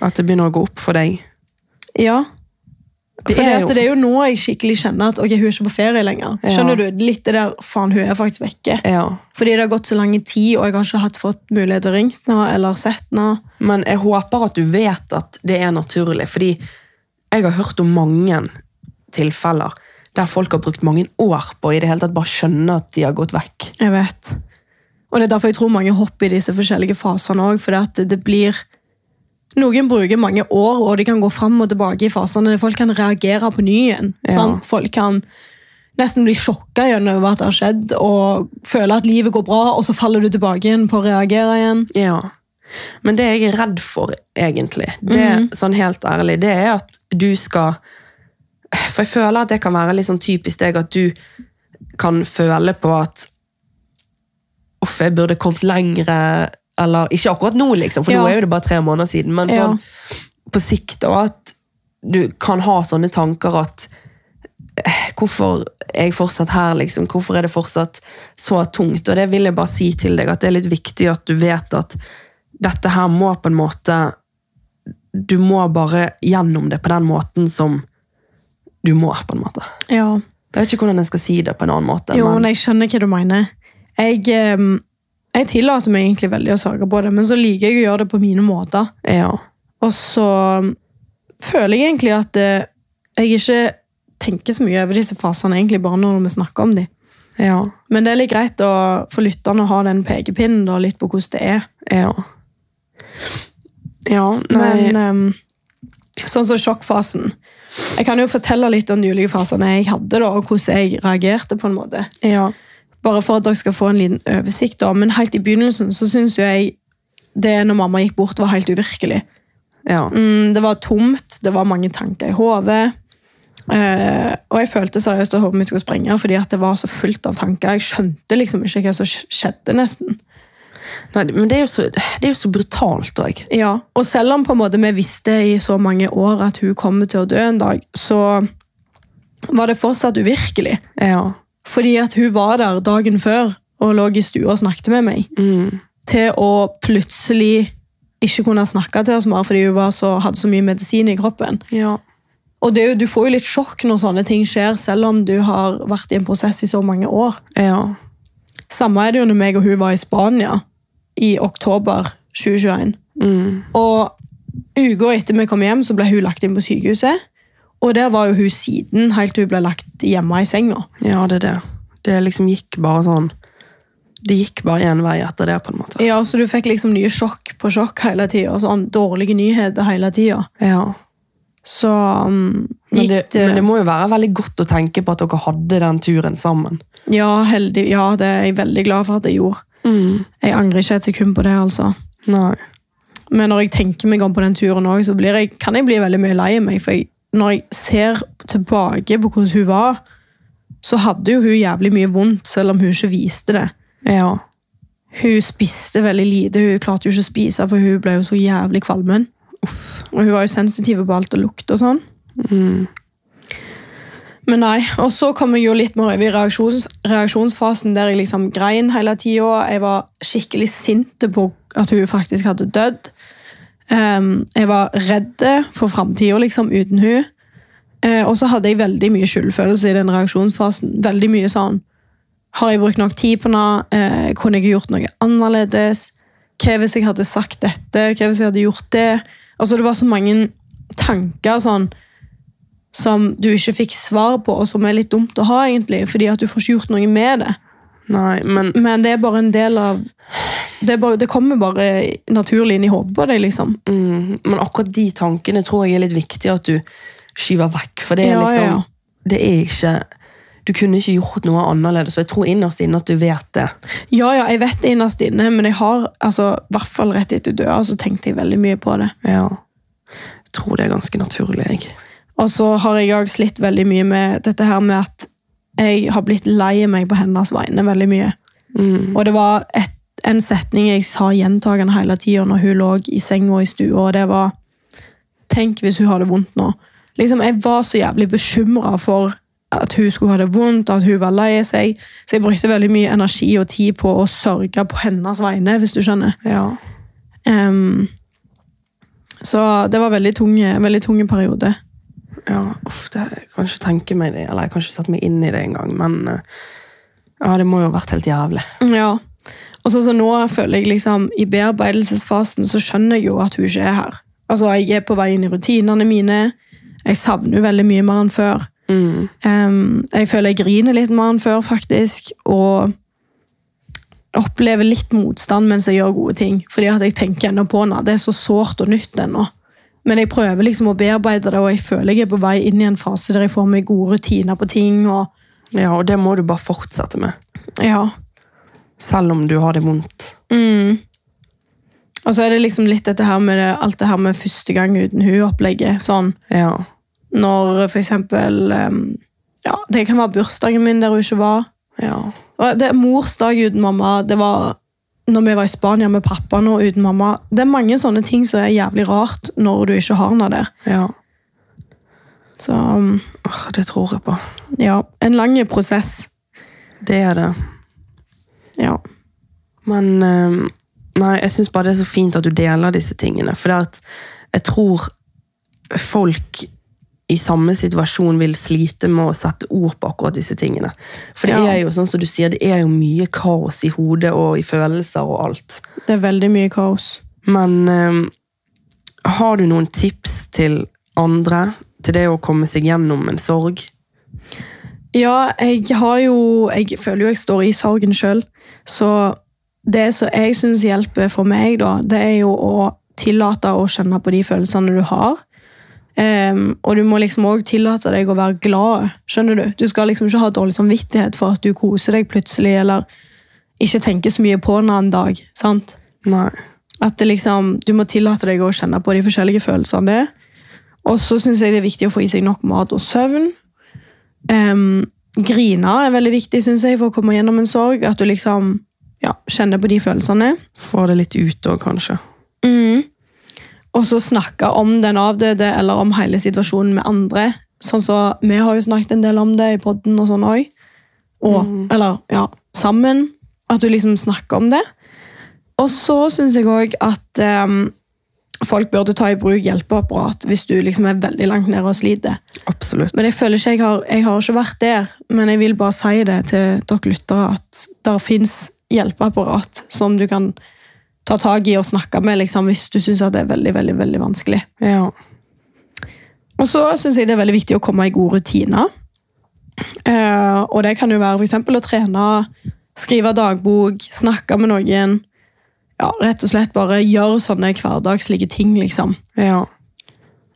At det begynner å gå opp for deg. Ja. Det Det Fordi er at jo- det er jo nå jeg skikkelig kjenner at ok, hun er ikke på ferie lenger. Ja. Skjønner du? Litt det der, faen, hun er faktisk vekke. Ja. Fordi det har gått så lang tid, og jeg har ikke hatt fått mulighet til å ringe henne eller sett henne. Men jeg håper at du vet at det er naturlig, fordi jeg har hørt om mange tilfeller der folk har brukt mange år på å i det hele tatt bare skjønne at de har gått vekk. Jeg vet. Og det er derfor jeg tror mange hopper i disse forskjellige fasene òg, fordi at det blir Noen bruker mange år, og de kan gå fram og tilbake i fasene. Folk kan reagere på ny igjen. Ja. Sant? Folk kan nesten bli sjokka gjennom hva som har skjedd, og føle at livet går bra, og så faller du tilbake igjen på å reagere igjen. Ja. Men det jeg er redd for, egentlig, det, sånn helt ærlig, det er at du skal For jeg føler at det kan være litt sånn typisk deg at du kan føle på at Uff, jeg burde kommet lengre Eller ikke akkurat nå, liksom, for Ja. nå er jo det bare tre måneder siden, men Ja. sånn på sikt, og at du kan ha sånne tanker at eh, Hvorfor er jeg fortsatt her, liksom? Hvorfor er det fortsatt så tungt? Og det vil jeg bare si til deg, at det er litt viktig at du vet at dette her må på en måte Du må bare gjennom det på den måten som du må, på en måte. Ja. Jeg vet ikke hvordan jeg skal si det på en annen måte. Jo, men, men jeg skjønner hva du mener. Jeg, ehm, jeg tillater meg egentlig veldig å sage på det, men så liker jeg å gjøre det på mine måter. ja. Og så føler jeg egentlig at eh, jeg ikke tenker så mye over disse fasene, egentlig bare når vi snakker om dem. Ja. Men det er litt greit å for lytterne å ha den pekepinnen da, litt på hvordan det er. Ja. Ja, nei Men ehm, sånn som sjokkfasen. Jeg kan jo fortelle litt om de ulike fasene jeg hadde, da, og hvordan jeg reagerte. på en måte. ja. bare for at dere skal få en liten oversikt, da, men helt i begynnelsen så syns jo jeg det når mamma gikk bort, var helt uvirkelig. Ja. Mm, det var tomt, det var mange tanker i hodet. Eh, og jeg følte seriøst at hodet mitt skulle sprenge, fordi at det var så fullt av tanker. Jeg skjønte liksom ikke hva som sk- skjedde, nesten. Nei, men det er jo så, det er jo så brutalt òg. Ja, Og selv om på en måte vi visste i så mange år at hun kommer til å dø en dag, så var det fortsatt uvirkelig. Ja. Fordi at hun var der dagen før og lå i stua og snakket med meg. Mm. til å plutselig ikke kunne snakke til oss mer fordi hun var så, hadde så mye medisin i kroppen. ja. Og det, er jo- Du får jo litt sjokk når sånne ting skjer, selv om du har vært i en prosess i så mange år. Ja. Samme er det jo når meg og hun var i Spania i oktober 2021. Mm. Og uka etter vi kom hjem, så ble hun lagt inn på sykehuset. Og der var jo hun siden, helt til hun ble lagt hjemme i senga. ja, det er det. Det liksom gikk bare sånn Det gikk bare én vei etter det, på en måte. Ja, Så du fikk liksom nye sjokk på sjokk hele tida. Sånn dårlige nyheter hele tida. Ja. Så um, Men gikk det, det men det må jo være veldig godt å tenke på at dere hadde den turen sammen. Ja, heldig. Ja, det er jeg veldig glad for at jeg gjorde. Jeg angrer ikke et sekund på det, altså. Mm. Nei. Men når jeg tenker meg om på den turen også, så blir jeg, kan jeg bli veldig mye lei meg. For jeg, når jeg ser tilbake på hvordan hun var, så hadde jo hun jævlig mye vondt, selv om hun ikke viste det. Ja. Hun spiste veldig lite. Hun klarte jo ikke å spise, for hun ble jo så jævlig kvalmen. Og hun var jo sensitiv på alt og lukt og sånn. Mm. Men nei, og så kom jeg jo litt mer over i reaksjons, reaksjonsfasen der jeg liksom grein hele tida. Jeg var skikkelig sint på at hun faktisk hadde dødd. Ehm, jeg var redd for framtida liksom, uten hun. Eh, og så hadde jeg veldig mye skyldfølelse i den reaksjonsfasen. Veldig mye sånn Har jeg brukt nok tid på henne? Eh, kunne jeg gjort noe annerledes? Hva hvis jeg hadde sagt dette? Hva hvis jeg hadde gjort det? Altså, det var så mange tanker sånn som du ikke fikk svar på, og som er litt dumt å ha, egentlig, fordi at du får ikke gjort noe med det. Nei, men Men det er bare en del av Det, er bare, det kommer bare naturlig inn i hodet på deg, liksom. Mm, men akkurat de tankene tror jeg er litt viktig at du skyver vekk. For det er Ja, liksom ja, ja. Det er ikke Du kunne ikke gjort noe annerledes, og jeg tror innerst inne at du vet det. Ja, ja, jeg vet det innerst inne, men jeg har, altså, i hvert fall rett etter døra, så tenkte jeg veldig mye på det. Ja. Jeg tror det er ganske naturlig, jeg. Og så har jeg òg slitt veldig mye med dette her med at jeg har blitt lei meg på hennes vegne veldig mye. Mm. Og det var et, en setning jeg sa gjentagende hele tida når hun lå i senga og i stua, og det var Tenk hvis hun har det vondt nå. Liksom, Jeg var så jævlig bekymra for at hun skulle ha det vondt, at hun var lei seg. Så jeg brukte veldig mye energi og tid på å sørge på hennes vegne, hvis du skjønner. Ja. Em, så det var veldig tunge, veldig tunge periode. ja. Uff, det, jeg kan ikke tenke meg det, eller jeg kan ikke sette meg inn i det engang, men eh, Ja, det må jo ha vært helt jævlig. Ja. Og sånn som nå føler jeg liksom, i bearbeidelsesfasen så skjønner jeg jo at hun ikke er her. Altså, jeg er på vei inn i rutinene mine. Jeg savner jo veldig mye mer enn før. Mm. Em, jeg føler jeg griner litt mer enn før, faktisk. Og opplever litt motstand mens jeg gjør gode ting. Fordi at jeg tenker ennå på henne. Det er så sårt og nytt ennå. Men jeg prøver liksom å bearbeide det, og jeg føler jeg er på vei inn i en fase der jeg får meg gode rutiner på ting. og Ja, og det må du bare fortsette med. ja, Selv om du har det vondt. Mm. Og så er det liksom litt dette her med det, alt det her med første gang uten hun-opplegget. Sånn Ja. når for eksempel em, Ja, det kan være bursdagen min der hun ikke var. Ja. Og det er Mors dag uten mamma. Det var når vi var i Spania med pappa nå uten mamma. Det er mange sånne ting som er jævlig rart når du ikke har henne der. ja. Så em, Åh, Det tror jeg på. ja, en lang prosess. Det er det. Ja. Men eh, nei, jeg syns bare det er så fint at du deler disse tingene. For det at jeg tror folk i samme situasjon vil slite med å sette ord på akkurat disse tingene. For det Ja. er jo sånn som du sier, det er jo mye kaos i hodet og i følelser og alt. Det er veldig mye kaos. Men eh, har du noen tips til andre til det å komme seg gjennom en sorg? Ja, jeg har jo Jeg føler jo jeg står i sorgen sjøl. Så det som jeg syns hjelper for meg, da, det er jo å tillate å kjenne på de følelsene du har. Em, og du må liksom òg tillate deg å være glad. Skjønner du? Du skal liksom ikke ha dårlig samvittighet for at du koser deg plutselig, eller ikke tenker så mye på den en dag. sant? Nei. At det liksom, du må tillate deg å kjenne på de forskjellige følelsene. det er. Og så syns jeg det er viktig å få i seg nok mat og søvn. Em, grine er veldig viktig synes jeg, for å komme gjennom en sorg. At du liksom ja, kjenner på de følelsene. Få det litt ut òg, kanskje. Mm. Og så snakke om den avdøde eller om hele situasjonen med andre. Sånn så, Vi har jo snakket en del om det i podden og sånn òg. Og, Eller ja, sammen. At du liksom snakker om det. Og så syns jeg òg at em, folk burde ta i bruk hjelpeapparat hvis du liksom er veldig langt nede og sliter. Absolutt. Men jeg føler ikke jeg har, jeg har ikke vært der, men jeg vil bare si det til dere lyttere at det fins hjelpeapparat som du kan ta tak i og snakke med liksom, hvis du syns det er veldig, veldig, veldig vanskelig. ja. Og så syns jeg det er veldig viktig å komme i gode rutiner. Eh, og det kan jo være for eksempel å trene, skrive dagbok, snakke med noen. Ja, rett og slett bare gjøre sånne hverdagslige ting, liksom. ja.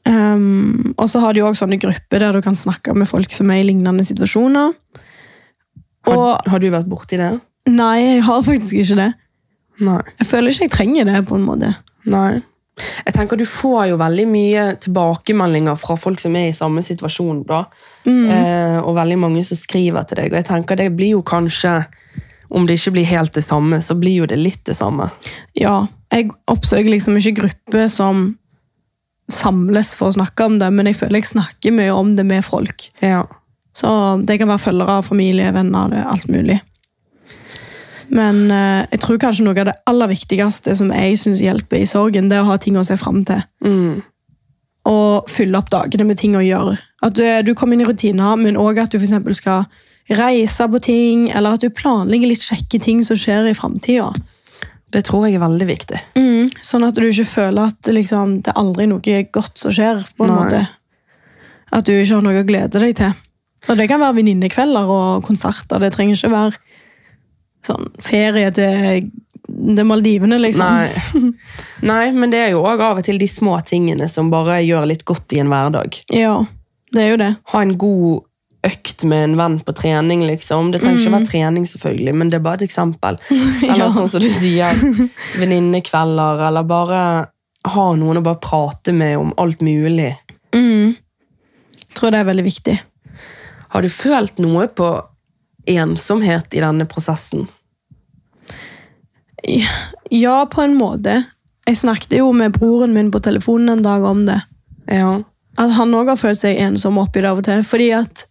Um, og så har de òg sånne grupper der du kan snakke med folk som er i lignende situasjoner. Har, Og- har du vært borti det? Nei, jeg har faktisk ikke det. Nei. Jeg føler ikke jeg trenger det, på en måte. Nei. Jeg tenker Du får jo veldig mye tilbakemeldinger fra folk som er i samme situasjon. da. Eh, og veldig mange som skriver til deg. Og jeg tenker det blir jo kanskje, Om det ikke blir helt det samme, så blir jo det litt det samme. Ja, jeg oppsøker liksom ikke grupper som samles for å snakke om det, men jeg føler jeg snakker mye om det med folk. Ja. Så det kan være følgere, familie, venner, det er alt mulig. Men eh, jeg tror kanskje noe av det aller viktigste som jeg syns hjelper i sorgen, det er å ha ting å se fram til. Mm. og fylle opp dagene med ting å gjøre. At du, eh, du kommer inn i rutiner, men òg at du for eksempel skal reise på ting, eller at du planlegger litt kjekke ting som skjer i framtida. Det tror jeg er veldig viktig. Sånn at du ikke føler at liksom, det er aldri noe godt som skjer. på en Nei. måte. At du ikke har noe å glede deg til. Og Det kan være venninnekvelder og konserter. Det trenger ikke være sånn ferie til til Maldivene, liksom. Nei. Nei, men det er jo òg av og til de små tingene som bare gjør litt godt i en hverdag. Ja, det er jo det. Ha en god økt med en venn på trening, liksom. Det trenger ikke være trening, selvfølgelig, men det er bare et eksempel. Eller Ja. sånn som du sier, venninnekvelder, eller bare ha noen å bare prate med om alt mulig. Jeg tror det er veldig viktig. Har du følt noe på ensomhet i denne prosessen? Ja, på en måte. Jeg snakket jo med broren min på telefonen en dag om det. Ja. At han òg har følt seg ensom oppi det av og til. Fordi at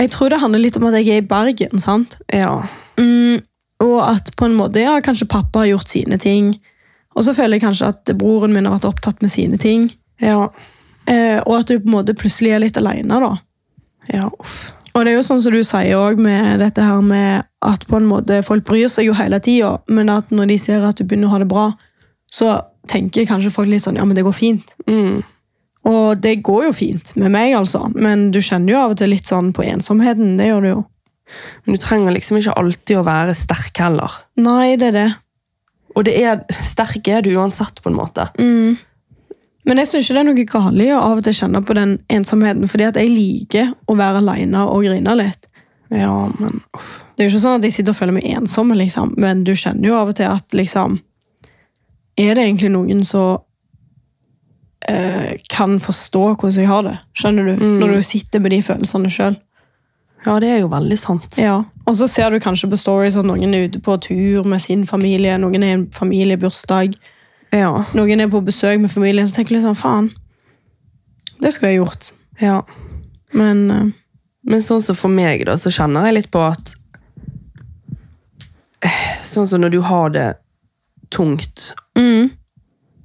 Jeg tror det handler litt om at jeg er i Bergen, sant? Ja. Mm, og at på en måte, ja, kanskje pappa har gjort sine ting. Og så føler jeg kanskje at broren min har vært opptatt med sine ting. Ja. Eh, og at du på en måte plutselig er litt aleine, da. Ja, uff. Og det er jo sånn som du sier òg, med dette her med at på en måte folk bryr seg jo hele tida, men at når de ser at du begynner å ha det bra, så tenker kanskje folk litt sånn ja, men det går fint. Mm. Og det går jo fint med meg, altså, men du kjenner jo av og til litt sånn på ensomheten. Det gjør du jo. Men du trenger liksom ikke alltid å være sterk heller. Nei, det er det. Og det er, sterk er du uansett, på en måte. Men jeg syns ikke det er noe galt i å av og til kjenne på den ensomheten, fordi at jeg liker å være aleine og grine litt. Ja, men uff. Det er jo ikke sånn at jeg sitter og føler meg ensom, liksom. men du kjenner jo av og til at liksom Er det egentlig noen som eh, kan forstå hvordan jeg har det? Skjønner du? Når du sitter med de følelsene sjøl. Ja, det er jo veldig sant. Ja. Og så ser du kanskje på stories at noen er ute på tur med sin familie, noen er i en familiebursdag, Ja. noen er på besøk med familien, så tenker du liksom faen, det skulle jeg gjort. ja. Men eh, Men sånn som for meg, da, så kjenner jeg litt på at eh, Sånn som når du har det tungt Mm.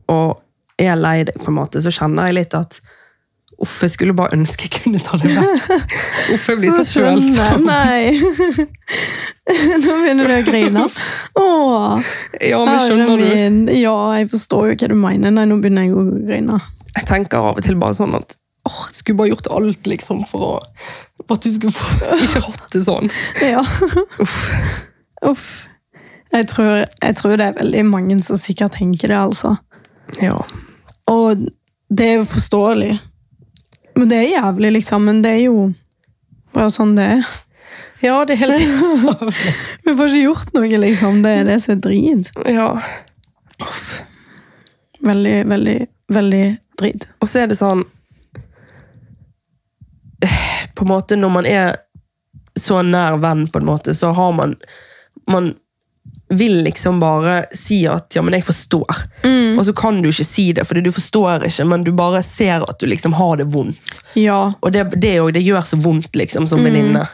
og er lei deg, på en måte, så kjenner jeg litt at Uff, jeg skulle bare ønske jeg kunne ta det vekk. Uff, jeg blir så Skjønner. følsom. Nei. Nå begynner du å grine. Åh, Ja, men herre skjønner du? min. Ja, jeg forstår jo hva du mener. Nei, nå begynner jeg å grine. Jeg tenker av og til bare sånn at åh, jeg skulle bare gjort alt liksom for å for at du skulle få, ikke hatt det sånn. Ja. Uff. Jeg tror, jeg tror det er veldig mange som sikkert tenker det, altså. Ja. Og det er jo forståelig. Men det er jævlig, liksom. Men det er jo bare sånn det er. ja, det er helt Vi får ikke gjort noe, liksom. Det er det som er drit. Ja. Veldig, veldig, veldig drit. Og så er det sånn eh, På en måte, når man er så nær venn, på en måte, så har man Man vil liksom bare si at 'ja, men jeg forstår'. Mm. Og så kan du ikke si det, fordi du forstår ikke, men du bare ser at du liksom har det vondt. Ja, Og det, det, er jo- det gjør så vondt, liksom, Mm. som venninne.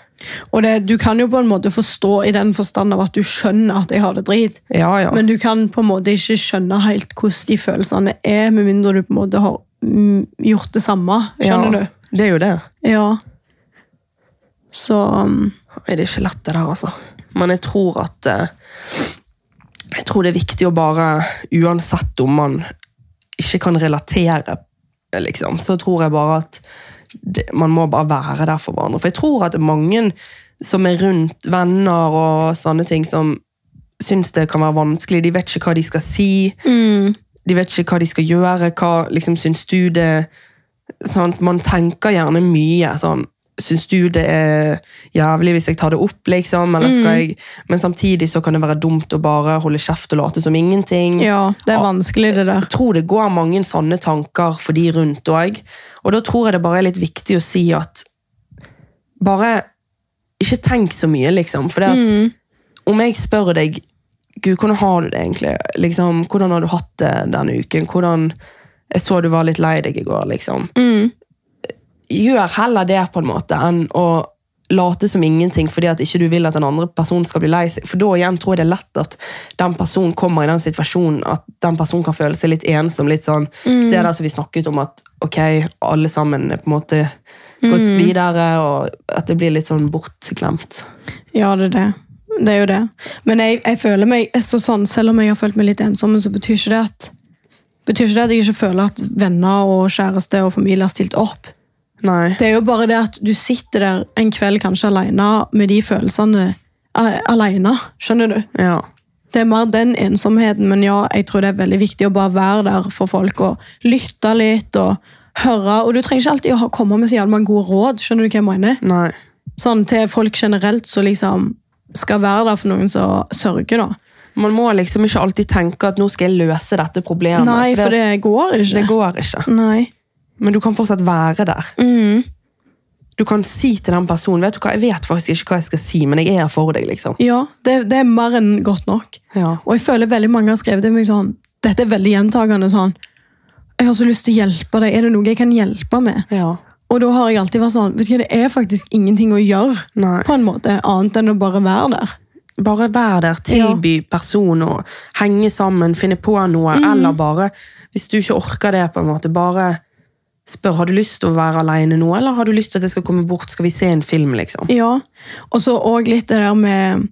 og det, du kan jo på en måte forstå i den forstand av at du skjønner at jeg har det drit, Ja, ja. men du kan på en måte ikke skjønne helt hvordan de følelsene er, med mindre du på en måte har mm, gjort det samme. Skjønner ja, Det er jo det. du? Ja. Så um, Er det ikke lett, det der, altså? Men jeg tror at eh, Jeg tror det er viktig å bare Uansett om man ikke kan relatere, liksom, så tror jeg bare at det, man må bare være der for hverandre. For jeg tror at det er mange som er rundt venner og sånne ting, som syns det kan være vanskelig. De vet ikke hva de skal si. De vet ikke hva de skal gjøre. Hva liksom, syns du det sant? Man tenker gjerne mye sånn Syns du det er jævlig hvis jeg tar det opp, liksom? Eller skal jeg Men samtidig så kan det være dumt å bare holde kjeft og late som ingenting. ja, det er Ja. vanskelig det der. Jeg tror det går mange sånne tanker for de rundt òg. Og da tror jeg det bare er litt viktig å si at Bare ikke tenk så mye, liksom. For det at Mm. om jeg spør deg Gud, hvordan har du det egentlig? Liksom, hvordan har du hatt det denne uken? Hvordan, jeg så du var litt lei deg i går, liksom. Gjør heller det på en måte enn å late som ingenting fordi at ikke du vil at den andre personen skal bli lei seg. For da igjen tror jeg det er lett at den personen kommer i den situasjonen at den personen kan føle seg litt ensom. litt sånn, Det der som vi snakket om at ok, alle sammen er på en måte gått videre, og at det blir litt sånn bortglemt. Ja, det er det. Det er jo det. Men jeg, jeg føler meg så sånn, selv om jeg har følt meg litt ensom, så betyr ikke det at betyr ikke det at jeg ikke føler at venner og kjæreste og familie har stilt opp. Nei. Det er jo bare det at du sitter der en kveld kanskje alene med de følelsene eh, alene. Skjønner du? Ja. Det er mer den ensomheten, men ja, jeg tror det er veldig viktig å bare være der for folk og lytte litt og høre. Og du trenger ikke alltid å ha- komme med så jævlig mange gode råd. Skjønner du hva jeg mener? Nei. sånn til folk generelt som liksom skal være der for noen som sørger, da. Man må liksom ikke alltid tenke at nå skal jeg løse dette problemet. Nei, for det går at det ikke. går ikke. Mm. Nei. Men du kan fortsatt være der. Du kan si til den personen vet du hva, 'Jeg vet faktisk ikke hva jeg skal si, men jeg er her for deg.' liksom. Ja, det, det er mer enn godt nok. Ja. Og jeg føler veldig mange har skrevet til meg sånn Dette er veldig gjentagende sånn Jeg har så lyst til å hjelpe deg. Er det noe jeg kan hjelpe med? Ja. Og da har jeg alltid vært sånn Vet du hva, det er faktisk ingenting å gjøre, Nei. på en måte, annet enn å bare være der. Bare vær der, tilby person og henge sammen, finne på noe, eller bare, hvis du ikke orker det, på en måte, bare spør har du lyst til å være alene nå, eller har du lyst til at jeg skal komme bort, skal vi se en film, liksom. Ja, og så òg litt det der med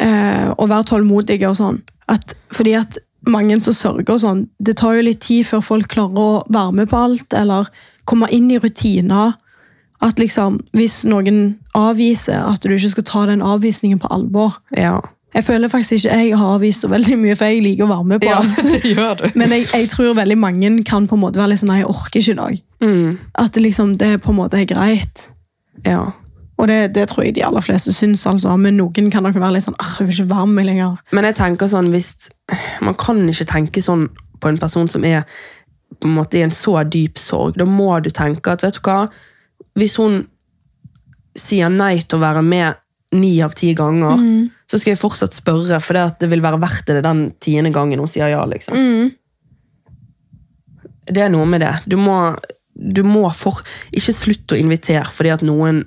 eh, å være tålmodig og sånn. At, fordi at mange som sørger og sånn, det tar jo litt tid før folk klarer å være med på alt, eller komme inn i rutiner. At liksom, hvis noen avviser, at du ikke skal ta den avvisningen på alvor. Ja. Jeg føler faktisk ikke jeg har avvist så veldig mye, for jeg liker å være med på alt. det gjør du. Men jeg, jeg tror veldig mange kan på en måte være litt sånn Nei, jeg orker ikke i dag. Mm. At det liksom, det på en måte er greit. Ja. Og det, det tror jeg de aller fleste syns, altså. men noen kan nok være litt sånn «Ah, jeg vil ikke være med lenger. Men jeg tenker sånn, hvis man kan ikke tenke sånn på en person som er på en måte i en så dyp sorg, da må du tenke at, vet du hva, hvis hun sier nei til å være med ni av ti ganger, så skal jeg fortsatt spørre, for det, at det vil være verdt det den tiende gangen hun sier ja, liksom. Det er noe med det. Du må, du må for, ikke slutte å invitere fordi at noen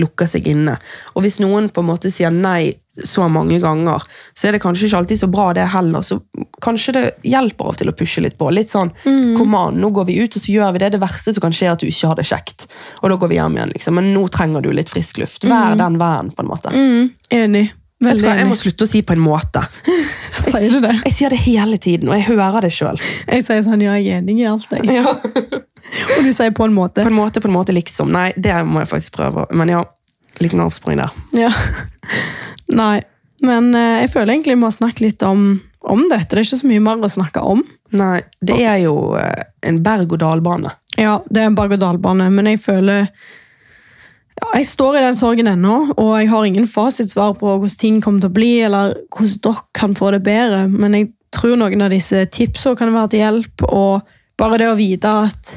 lukker seg inne. Og hvis noen på en måte sier nei så mange ganger, så er det kanskje ikke alltid så bra det heller, så kanskje det hjelper av og til å pushe litt på. Litt sånn, Mm. kom an, nå går vi ut, og så gjør vi det. Det verste som kan skje er at du ikke har det kjekt. Og da går vi hjem igjen, liksom. Men nå trenger du litt frisk luft. Vær den vennen, på en måte. Enig. Vet du Mm. Veldig hva, Mm. jeg må enig. slutte å si på en måte. Sier du det? Jeg sier det hele tiden, og jeg hører det sjøl. Jeg sier sånn ja, jeg er enig i alt, jeg. Og du sier på en måte. På en måte, på en måte, liksom. Nei, det må jeg faktisk prøve. Men ja, liten avspring der. Ja. Nei. Men eh, jeg føler egentlig vi har snakket litt om, om dette. Det er ikke så mye mer å snakke om. Nei, det er jo eh, en berg-og-dal-bane. Ja, det er en berg-og-dal-bane, men jeg føler ja, Jeg står i den sorgen ennå, og jeg har ingen fasitsvar på hvordan ting kommer til å bli, eller hvordan dere kan få det bedre, men jeg tror noen av disse tipsene kan være til hjelp, og bare det å vite at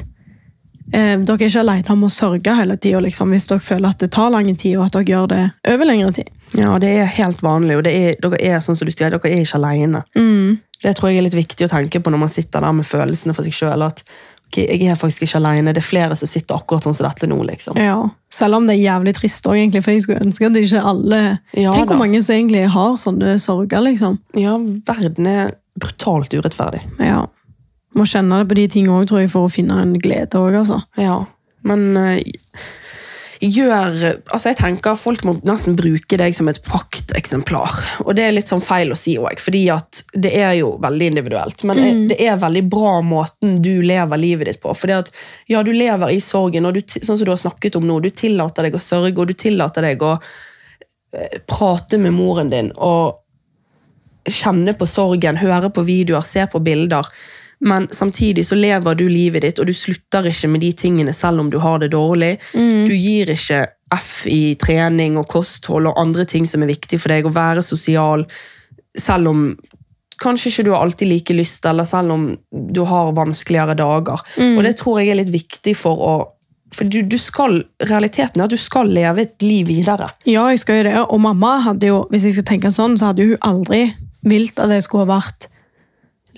eh, dere er ikke alene om å sørge hele tida liksom, hvis dere føler at det tar lang tid, og at dere gjør det over lengre tid. Ja, det er helt vanlig, og det er, dere er sånn som du sier, dere er ikke alene. Det tror jeg er litt viktig å tenke på når man sitter der med følelsene for seg sjøl. At ok, jeg er faktisk ikke alene, det er flere som sitter akkurat sånn som dette nå. liksom. Ja, Selv om det er jævlig trist òg, egentlig, for jeg skulle ønske at ikke alle Ja Tenk da. hvor mange som egentlig har sånne sorger, liksom. Ja, verden er brutalt urettferdig. Ja. Må kjenne det på de tingene òg, tror jeg, for å finne en glede òg, altså. Ja, men eh, gjør Altså, jeg tenker folk må nesten bruke deg som et prakteksemplar. Og det er litt sånn feil å si òg, fordi at det er jo veldig individuelt. Men eh, det er veldig bra måten du lever livet ditt på. For at ja, du lever i sorgen, og du, ti- sånn som du har snakket om nå, du tillater deg å sørge, og du tillater deg å eh, prate med moren din og kjenne på sorgen, høre på videoer, se på bilder. Men samtidig så lever du livet ditt, og du slutter ikke med de tingene selv om du har det dårlig. Mm. Du gir ikke F i trening og kosthold og andre ting som er viktig for deg, å være sosial, selv om kanskje ikke du har alltid like lyst, eller selv om du har vanskeligere dager. Mm. Og det tror jeg er litt viktig for å For du, du skal, realiteten er at du skal leve et liv videre. Ja, jeg skal jo det. Og mamma hadde jo, hvis jeg skal tenke sånn, så hadde hun aldri vilt at jeg skulle ha vært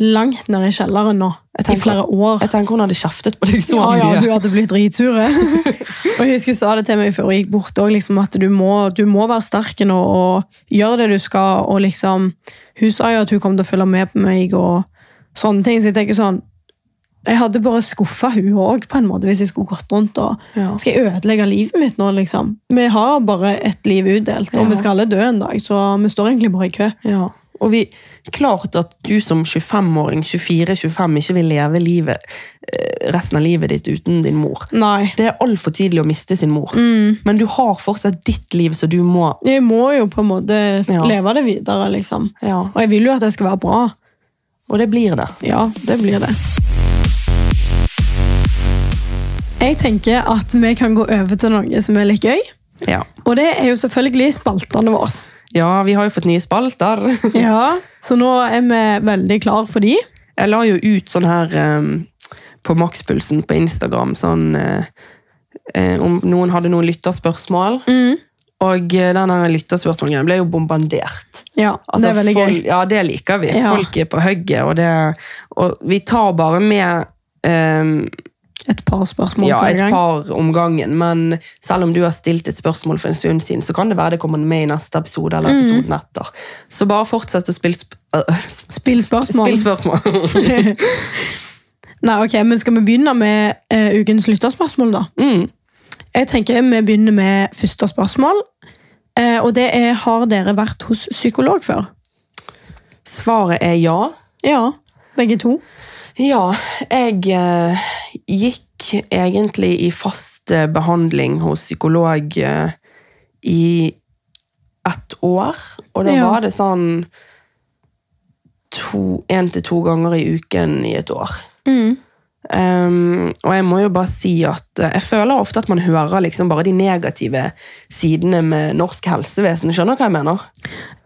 langt nede i kjelleren nå. Jeg I tenker- flere år. Jeg tenker hun hadde kjeftet på deg så Ja, ja, mye. hun hadde blitt dritsure. og jeg husker hun sa det til meg før jeg gikk bort òg, liksom, at du må, du må være sterk nå og gjøre det du skal. Og liksom, hun sa jo at hun kom til å følge med på meg og sånne ting. Så jeg tenker sånn Jeg hadde bare skuffa hun òg, på en måte, hvis jeg skulle gått rundt og Ja. Skal jeg ødelegge livet mitt nå, liksom? Vi har bare ett liv utdelt, og Ja. vi skal alle dø en dag, så vi står egentlig bare i kø. Ja, og vi, klart at du som 25-åring, 24-25, ikke vil leve livet, eh, resten av livet ditt uten din mor. Nei. Det er altfor tidlig å miste sin mor. Men du har fortsatt ditt liv, så du må Jeg må jo på en måte Ja. leve det videre, liksom. ja. Og jeg vil jo at det skal være bra. Og det blir det. Ja, det blir det. Jeg tenker at vi kan gå over til noe som er litt gøy. Ja. Og det er jo selvfølgelig spaltene våre. ja, vi har jo fått nye spalter. Ja, Så nå er vi veldig klar for de. Jeg la jo ut sånn her eh, på makspulsen på Instagram sånn eh, eh, om noen hadde noen lytterspørsmål. Og eh, den her lytterspørsmålen ble jo bombardert. Ja, Altså, Det er veldig folk, gøy. Ja, det liker vi. Ja. Folk er på hugget, og, det, og vi tar bare med ehm, Et par spørsmål ja, per et gang. par om gangen. Men selv om du har stilt et spørsmål for en stund siden, så kan det være det kommer med i neste episode eller Mhm. episoden etter. Så bare fortsett å spille sp øh, Spill spørsmål. spill spørsmål. Nei, ok, men Skal vi begynne med eh, ukens lytterspørsmål, da? mm. Jeg tenker Vi begynner med første spørsmål. Eh, og det er Har dere vært hos psykolog før? Svaret er ja. Ja. Begge to? Ja, jeg eh, gikk egentlig i fast eh, behandling hos psykolog eh, i ett år. Og da Ja. var det sånn to, en til to ganger i uken i et år. Ehm, og jeg må jo bare si at eh, jeg føler ofte at man hører liksom bare de negative sidene med norsk helsevesen. Skjønner du hva jeg mener?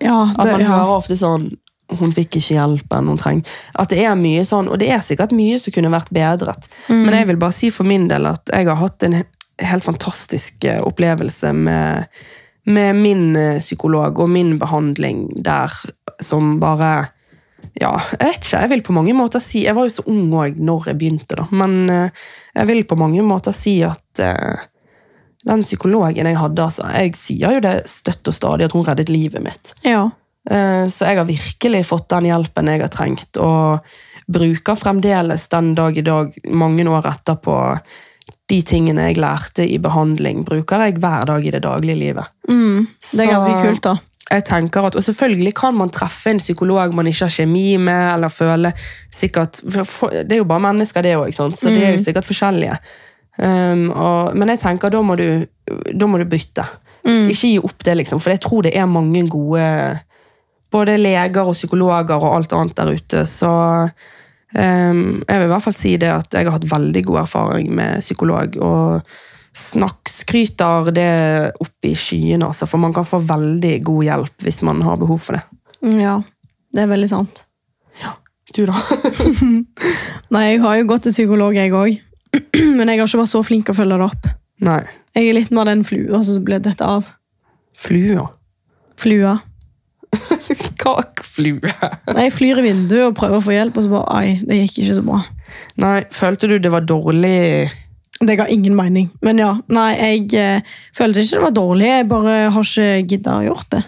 Ja, At det, man ja. hører ofte sånn hun fikk ikke hjelpen hun trenger. At det er mye sånn, og det er sikkert mye som kunne vært bedret. Mm. Men jeg vil bare si for min del at jeg har hatt en he- helt fantastisk eh, opplevelse med, med min eh, psykolog og min behandling der, som bare ja, jeg vet ikke. Jeg vil på mange måter si Jeg var jo så ung òg når jeg begynte, da. Men eh, jeg vil på mange måter si at eh, den psykologen jeg hadde, altså Jeg sier jo det støtt og stadig at hun reddet livet mitt. ja. Eh, Så jeg har virkelig fått den hjelpen jeg har trengt, og bruker fremdeles den dag i dag, mange år etterpå, de tingene jeg lærte i behandling, bruker jeg hver dag i det daglige livet. Mm, det er ganske Så- kult, da. Jeg tenker at, Og selvfølgelig kan man treffe en psykolog man ikke har kjemi med, eller føle sikkert for- for- Det er jo bare mennesker, det òg, så de er jo sikkert forskjellige. Um, og, men jeg tenker da må du, da må du bytte. Ikke gi opp det, liksom, for jeg tror det er mange gode både leger og psykologer og alt annet der ute. Så ehm, jeg vil i hvert fall si det at jeg har hatt veldig god erfaring med psykolog. Og snakk, skryter det opp i skyene, altså, for man kan få veldig god hjelp hvis man har behov for det. Mm, Ja, det er veldig sant. Du, da? Nei, jeg har jo gått til psykolog, jeg òg. Men jeg har ikke vært så flink å følge det opp. Nei. Jeg er litt mer den flua som ble dette av. Flua. Flua. Kakflue. Nei, Jeg flyr i vinduet og prøver å få hjelp, og så bare Ai, det gikk ikke så bra. Nei, følte du det var dårlig Det ga ingen mening. Men ja, nei, jeg eh, følte ikke det var dårlig. Jeg bare har ikke gidda å gjort det.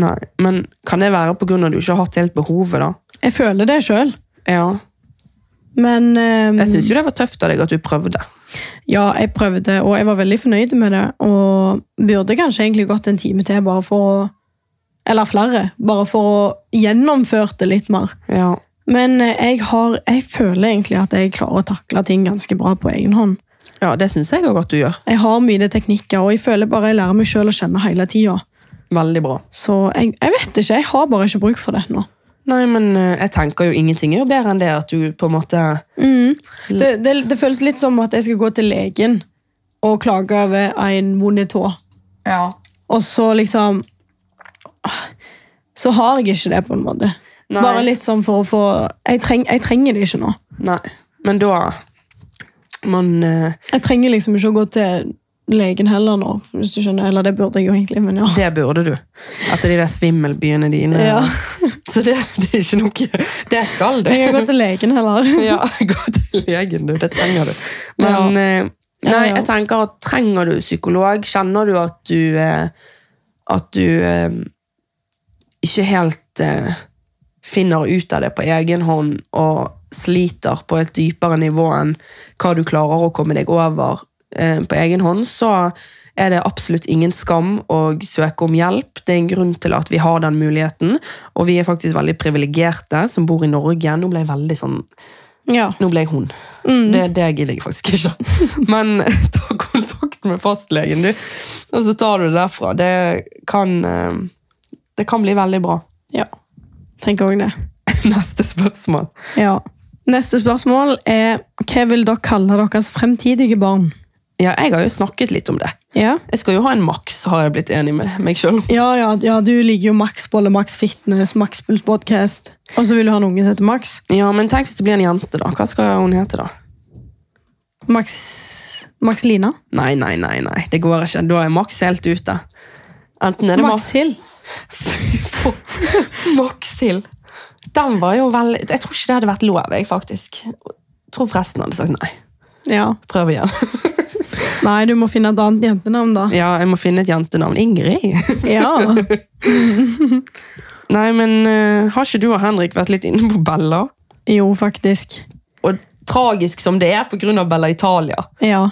Nei. Men kan det være pga. at du ikke har hatt helt behovet, da? Jeg føler det sjøl, Ja. men eh, Jeg syns jo det var tøft av deg at du prøvde. ja, jeg prøvde, og jeg var veldig fornøyd med det. Og burde kanskje egentlig gått en time til, bare for å Eller flere. Bare for å gjennomført det litt mer. Ja. Men eh, jeg har Jeg føler egentlig at jeg klarer å takle ting ganske bra på egen hånd. Ja, det syns jeg òg at du gjør. Jeg har mine teknikker, og jeg føler bare jeg lærer meg sjøl å kjenne hele tida. Veldig bra. Så jeg, jeg vet ikke. Jeg har bare ikke bruk for det nå. Nei, men eh, jeg tenker jo ingenting er jo bedre enn det at du på en måte Mm. Det, det, det føles litt som at jeg skal gå til legen og klage over en vond tå, Ja. og så liksom Så har jeg ikke det, på en måte. Nei. Bare litt sånn for å få Jeg, treng, jeg trenger det ikke nå. Nei. Men da Man eh, Jeg trenger liksom ikke å gå til legen heller nå, hvis du skjønner. Eller det burde jeg jo egentlig, men ja. Det burde du. Etter de der svimmelbyene dine. Ja. Så det, det er ikke noe Det skal du. Jeg har gått til legen heller. Ja, gå til legen, du. Det trenger du. Men eh, Ja, nei, ja. jeg tenker at trenger du psykolog? Kjenner du at du eh, At du eh, ikke helt eh, finner ut av det på egen hånd og sliter på et dypere nivå enn hva du klarer å komme deg over eh, på egen hånd, så er det absolutt ingen skam å søke om hjelp. Det er en grunn til at vi har den muligheten, og vi er faktisk veldig privilegerte som bor i Norge. Nå ble jeg veldig sånn Ja. nå ble jeg hun. Det, det gidder jeg faktisk ikke. Men ta kontakt med fastlegen, du. Og så tar du det derfra. Det kan, eh, det kan bli veldig bra. ja. Tenker òg det. Neste spørsmål. Ja. Neste spørsmål er hva vil dere kalle deres fremtidige barn? Ja, jeg har jo snakket litt om det. Ja, Jeg skal jo ha en maks, har jeg blitt enig med meg sjøl. ja, ja, ja du ligger jo Maxbolle, Max Fitness, Max Puls Podcast. Og så vil du ha en unge som heter Max. Ja, men tenk hvis det blir en jente, da. Hva skal hun hete, da? Max, Max Lina. Nei, nei, nei, nei. det går ikke. Da er maks helt ute. Enten er det Max Hill. Max Hill. Den var jo veldig Jeg tror ikke det hadde vært lov, jeg, faktisk. Jeg tror presten hadde sagt nei. Ja. Prøv igjen. Nei, du må finne et annet jentenavn, da. Ja, jeg må finne et jentenavn. Ingrid? Ja. Nei, men eh, har ikke du og Henrik vært litt inne på Bella? Jo, faktisk. Og tragisk som det er på grunn av Bella Italia. Ja.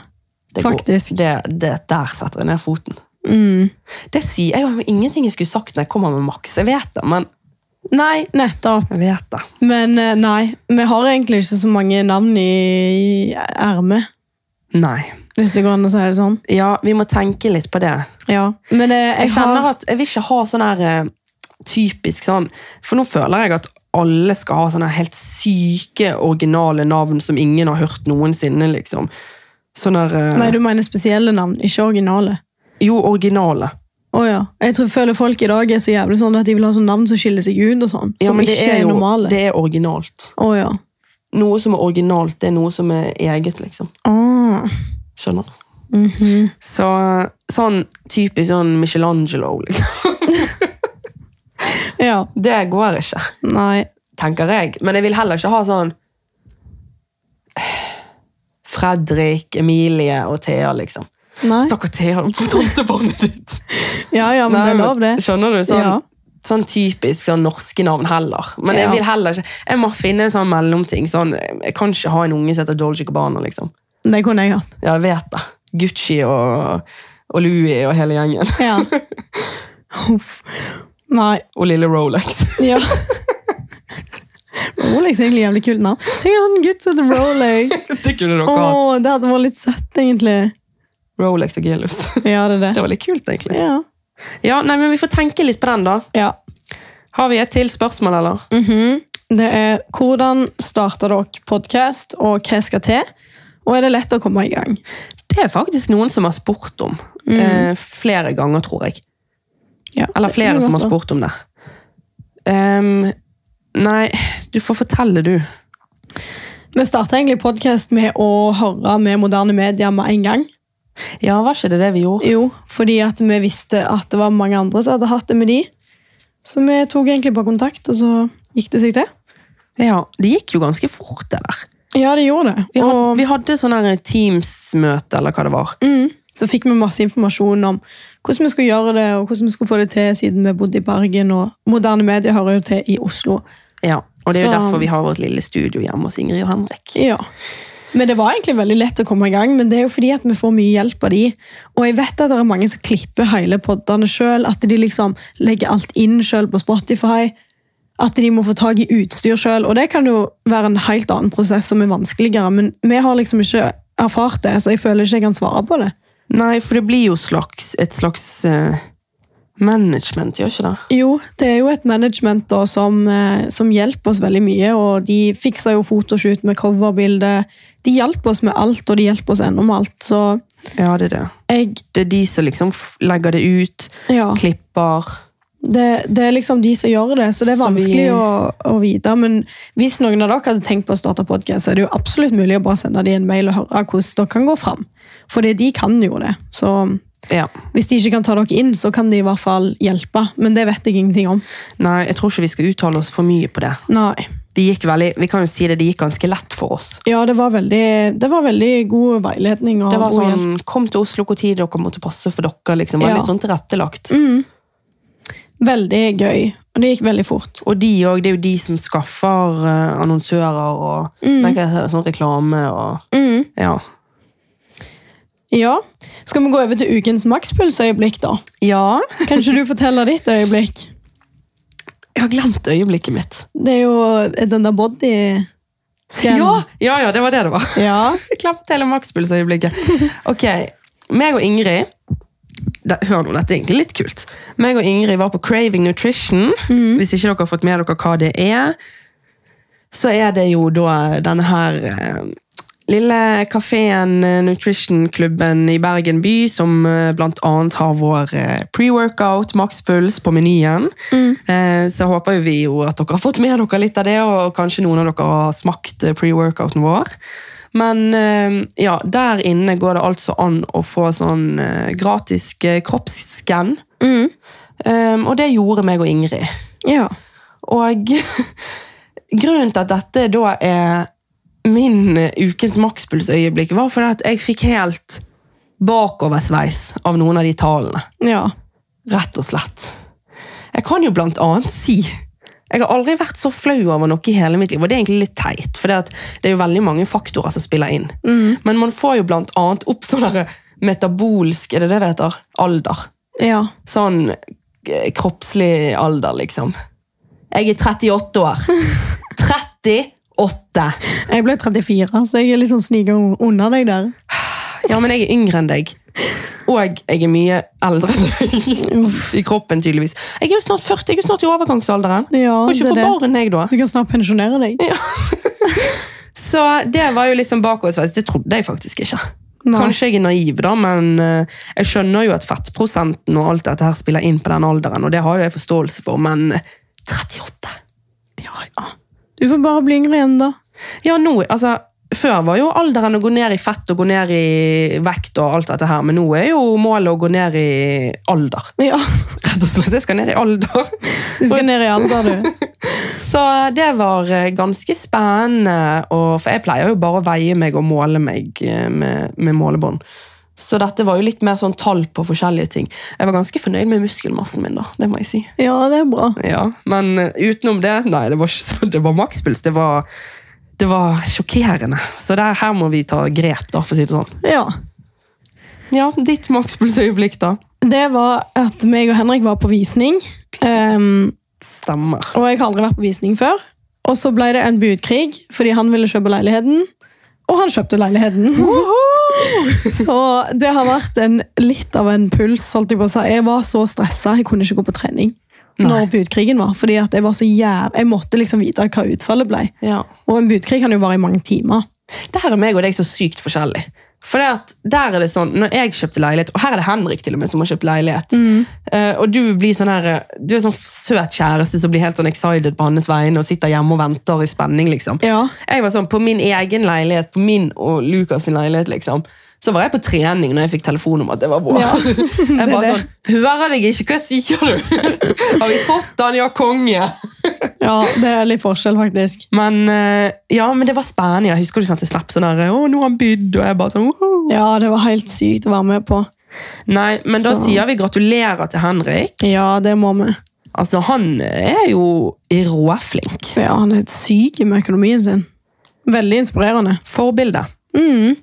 Det går- Faktisk. Det, det, der setter jeg ned foten. Mm. Det sier, Jeg har jo ingenting jeg skulle sagt når jeg kommer med Max. Jeg vet det, men Nei, nettopp. jeg vet det. Men eh, nei, vi har egentlig ikke så mange navn i, i ermet, Nei. hvis det går an å si det sånn. Ja, vi må tenke litt på det. Ja. Men eh, jeg, Jeg har kjenner at jeg vil ikke ha sånn her eh, typisk sånn For nå føler jeg at alle skal ha sånne helt syke, originale navn som ingen har hørt noensinne, liksom. Sånn der eh, Nei, du mener spesielle navn, ikke originale. Jo, originale. Å ja. Jeg tror, føler folk i dag er så jævlig sånn at de vil ha sånn navn som skiller seg ut, og sånn. Ja, som men det ikke er, er jo normale. Det er originalt. Å ja. Noe som er originalt, det er noe som er eget, liksom. Ah. Skjønner? Mhm. Så sånn typisk sånn Michelangelo, liksom. Ja. Det går ikke, Nei. tenker jeg. Men jeg vil heller ikke ha sånn Fredrik, Emilie og Thea, liksom. Nei. Stakkar Thea, tantebarnet ditt. Ja, ja, men det er lov, det. Skjønner du? Sånn, Ja. sånn typisk sånn norske navn heller. Men jeg Ja. vil heller ikke Jeg må finne en sånn mellomting. Sånn, jeg kan ikke ha en unge som heter Dolce Gabbana, liksom. Det kunne jeg hatt. Ja, jeg vet det. Gucci og, og Louis og hele gjengen. Ja. Huff. Nei. Og lille Rolex. Ja. Rolex er egentlig jævlig kult navn. Tenk han gutt som heter Rolex. det kunne dere Å, hatt. det hadde vært litt søtt, egentlig. Rolex og Gillus. Ja, det er det. Det var litt kult, egentlig. Ja. Ja, nei, men Vi får tenke litt på den, da. ja. Har vi et til spørsmål, eller? Mhm. Det er hvordan starter dere podkast, og hva skal til? Og er det lett å komme i gang? Det er faktisk noen som har spurt om. Eh, flere ganger, tror jeg. Ja, Eller det er flere godt som har da. spurt om det. Ehm, Nei, du får fortelle, du. Vi starta egentlig podkast med å høre med moderne medier med en gang. Ja, var ikke det det vi gjorde? Jo, fordi at vi visste at det var mange andre som hadde hatt det med de. Så vi tok egentlig bare kontakt, og så gikk det seg til. Ja, Det gikk jo ganske fort, det der. Ja, det gjorde det. Vi hadde, Og vi hadde sånn her Teams-møte, eller hva det var. mm, så fikk vi masse informasjon om hvordan vi skulle gjøre det, og hvordan vi skulle få det til, siden vi bodde i Bergen, og moderne medier hører jo til i Oslo. Ja, Og det er jo Så- derfor vi har vårt lille studio hjemme hos Ingrid og Henrik. Ja. Men det var egentlig veldig lett å komme i gang, men det er jo fordi at vi får mye hjelp av de. Og jeg vet at det er mange som klipper hele poddene sjøl, at de liksom legger alt inn sjøl på Spotify. At de må få tak i utstyr sjøl, og det kan jo være en helt annen prosess som er vanskeligere, men vi har liksom ikke erfart det, så jeg føler ikke jeg kan svare på det. Nei, for det blir jo slags, et slags eh, management, gjør ikke det? Jo, det er jo et management da, som, eh, som hjelper oss veldig mye, og de fiksa jo fotoshoot med coverbilde. De hjalp oss med alt, og de hjelper oss ennå med alt, så Ja, det er det. jeg Det er de som liksom f- legger det ut, Ja. klipper Det, det er liksom de som gjør det, så det er Så vi- vanskelig å, å vite. Men hvis noen av dere hadde tenkt på å starte podkast, er det jo absolutt mulig å bare sende dem en mail og høre hvordan dere kan gå fram. For det, de kan jo det. Så Ja. hvis de ikke kan ta dere inn, så kan de i hvert fall hjelpe. Men det vet jeg ingenting om. Nei, jeg tror ikke vi skal uttale oss for mye på det. Nei. Det gikk veldig, Vi kan jo si det, det gikk ganske lett for oss. Ja, det var veldig, det var veldig god veiledning. Og Det var god hjelp. sånn Kom til Oslo hvor tid dere måtte passe for dere. liksom, Veldig Ja. sånn tilrettelagt. Veldig gøy. Og det gikk veldig fort. Og de òg. Det er jo de som skaffer eh, annonsører og nei, hva heter det, sånn reklame og ja. Ja. Skal vi gå over til ukens makspulsøyeblikk, da? ja. Kan ikke du fortelle ditt øyeblikk? Jeg har glemt øyeblikket mitt. Det er jo den der body scan. Ja, ja, ja, det var det det var. Ja. Jeg glemte hele makspulsøyeblikket. Ok, meg og Ingrid da, Hør nå, dette er egentlig litt kult. Meg og Ingrid var på Craving Nutrition. Hvis ikke dere har fått med dere hva det er, så er det jo da denne her eh, lille kafeen eh, Nutrition-klubben i Bergen by, som eh, blant annet har vår eh, pre-workout, makspuls, på menyen. Eh, Så håper jo vi jo at dere har fått med dere litt av det, og kanskje noen av dere har smakt eh, pre-workouten vår. Men eh, ja, der inne går det altså an å få sånn eh, gratis eh, kroppsskann. Um, Og det gjorde meg og Ingrid. Ja. Og grunnen til at dette da er min ukens makspulsøyeblikk, var fordi at jeg fikk helt bakoversveis av noen av de tallene. ja. Rett og slett. Jeg kan jo blant annet si Jeg har aldri vært så flau over noe i hele mitt liv, og det er egentlig litt teit, for det, at det er jo veldig mange faktorer som spiller inn. Men man får jo blant annet opp sånn derre metabolsk Er det det det heter? Alder. Ja. Sånn eh, kroppslig alder, liksom. Jeg er 38 år. 38! Jeg ble 34, så jeg er litt sånn sniker unna deg der. Ja, men jeg er yngre enn deg. Og jeg er mye eldre enn deg. I kroppen, tydeligvis. Jeg er jo snart 40, jeg er jo snart i overgangsalderen. Ja, kan ikke det få er det. barn, jeg, da. Du kan snart pensjonere deg. Så det var jo liksom bakoversveis. Det trodde jeg faktisk ikke. Nei. Kanskje jeg er naiv, da, men eh, jeg skjønner jo at fettprosenten og alt dette her spiller inn på den alderen, og det har jo jeg forståelse for, men 38 Ja, ja. Du får bare bli yngre igjen, da. Ja, nå, altså før var jo alderen å gå ned i fett og gå ned i vekt og alt dette her, men nå er jo målet å gå ned i alder. Ja. Rett og slett, jeg skal ned i alder. Du skal ned i alder, du. Så det var eh, ganske spennende, og, for jeg pleier jo bare å veie meg og måle meg eh, med, med målebånd. Så dette var jo litt mer sånn tall på forskjellige ting. Jeg var ganske fornøyd med muskelmassen min da, det må jeg si. Ja, det er bra. Ja, men eh, utenom det, nei, det var, ikke så- det var makspuls. Det var, det var sjokkerende. Så der, her må vi ta grep, da, for å si det sånn. Ja. Ja, ditt makspulsøyeblikk, da. Det var at meg og Henrik var på visning, ehm, Stemmer. og jeg har aldri vært på visning før. Og så ble det en budkrig, fordi han ville kjøpe leiligheten, og han kjøpte leiligheten. Så det har vært en, litt av en puls. holdt Jeg på å si. Jeg var så stressa, jeg kunne ikke gå på trening. Når budkrigen var, fordi at jeg var så jæv... Jeg måtte liksom vite hva utfallet ble. Ja. Og en budkrig kan jo vare i mange timer. Der er meg og deg så sykt forskjellig. For det at der er det sånn, Når jeg kjøpte leilighet, og her er det Henrik til og med som har kjøpt leilighet Mm. eh, Og du blir sånn her, eh, du er sånn søt kjæreste som blir helt sånn excited på hans vegne og sitter hjemme og venter i spenning. liksom. Ja. Jeg var sånn, På min egen leilighet, på min og Lukas' sin leilighet, liksom, så var jeg på trening når jeg fikk telefon om at det var vår. Ja, jeg er bare det. sånn Hører deg ikke, hva sier du? har vi fått den? Ja, konge! ja, det er litt forskjell, faktisk. Men eh, ja, men det var spennende. Jeg husker du sendte snap sånn her, å, nå har han bydd, og jeg bare sånn wow. Ja, det var helt sykt å være med på. Nei, men da Så- sier vi gratulerer til Henrik. Ja, det må vi. Altså, han er jo råflink. Ja, han er helt syk med økonomien sin. Veldig inspirerende. Forbilde. Mm,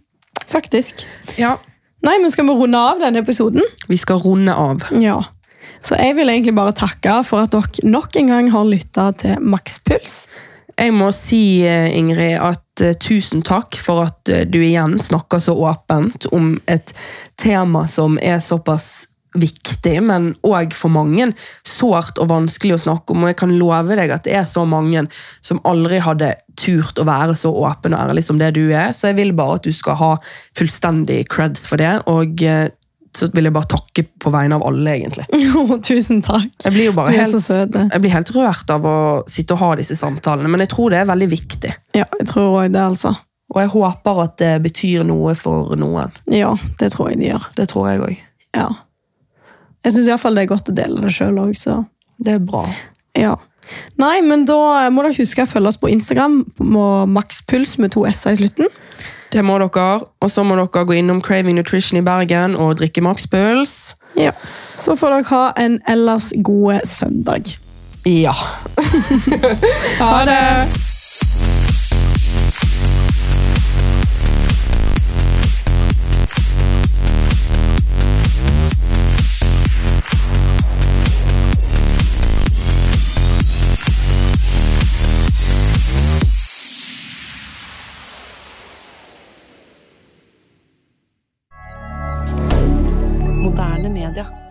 faktisk. Ja. Nei, men skal vi runde av denne episoden? Vi skal runde av. Ja. Så jeg vil egentlig bare takke for at dere nok en gang har lytta til Makspuls. Jeg må si, eh, Ingrid, at eh, tusen takk for at eh, du igjen snakker så åpent om et tema som er såpass viktig, men òg for mange sårt og vanskelig å snakke om. Og jeg kan love deg at det er så mange som aldri hadde turt å være så åpen og ærlig som det du er, så jeg vil bare at du skal ha fullstendig creds for det. og eh, så vil jeg bare takke på vegne av alle, egentlig. Jo, Tusen takk. Jeg blir jo bare Du er så helt, søt. du. jeg blir helt rørt av å sitte og ha disse samtalene, men jeg tror det er veldig viktig. Ja, jeg tror òg det, altså. Og jeg håper at det betyr noe for noen. Ja, det tror jeg de gjør. Det tror jeg òg. Ja. Jeg syns iallfall det er godt å dele det sjøl òg, så Det er bra. ja. Nei, men da må dere huske å følge oss på Instagram på makspuls med to s-er i slutten. Det må dere. Og så må dere gå innom Craving Nutrition i Bergen og drikke Max Puls. Ja. Så får dere ha en ellers god søndag. Ja. ha det! Moderne media.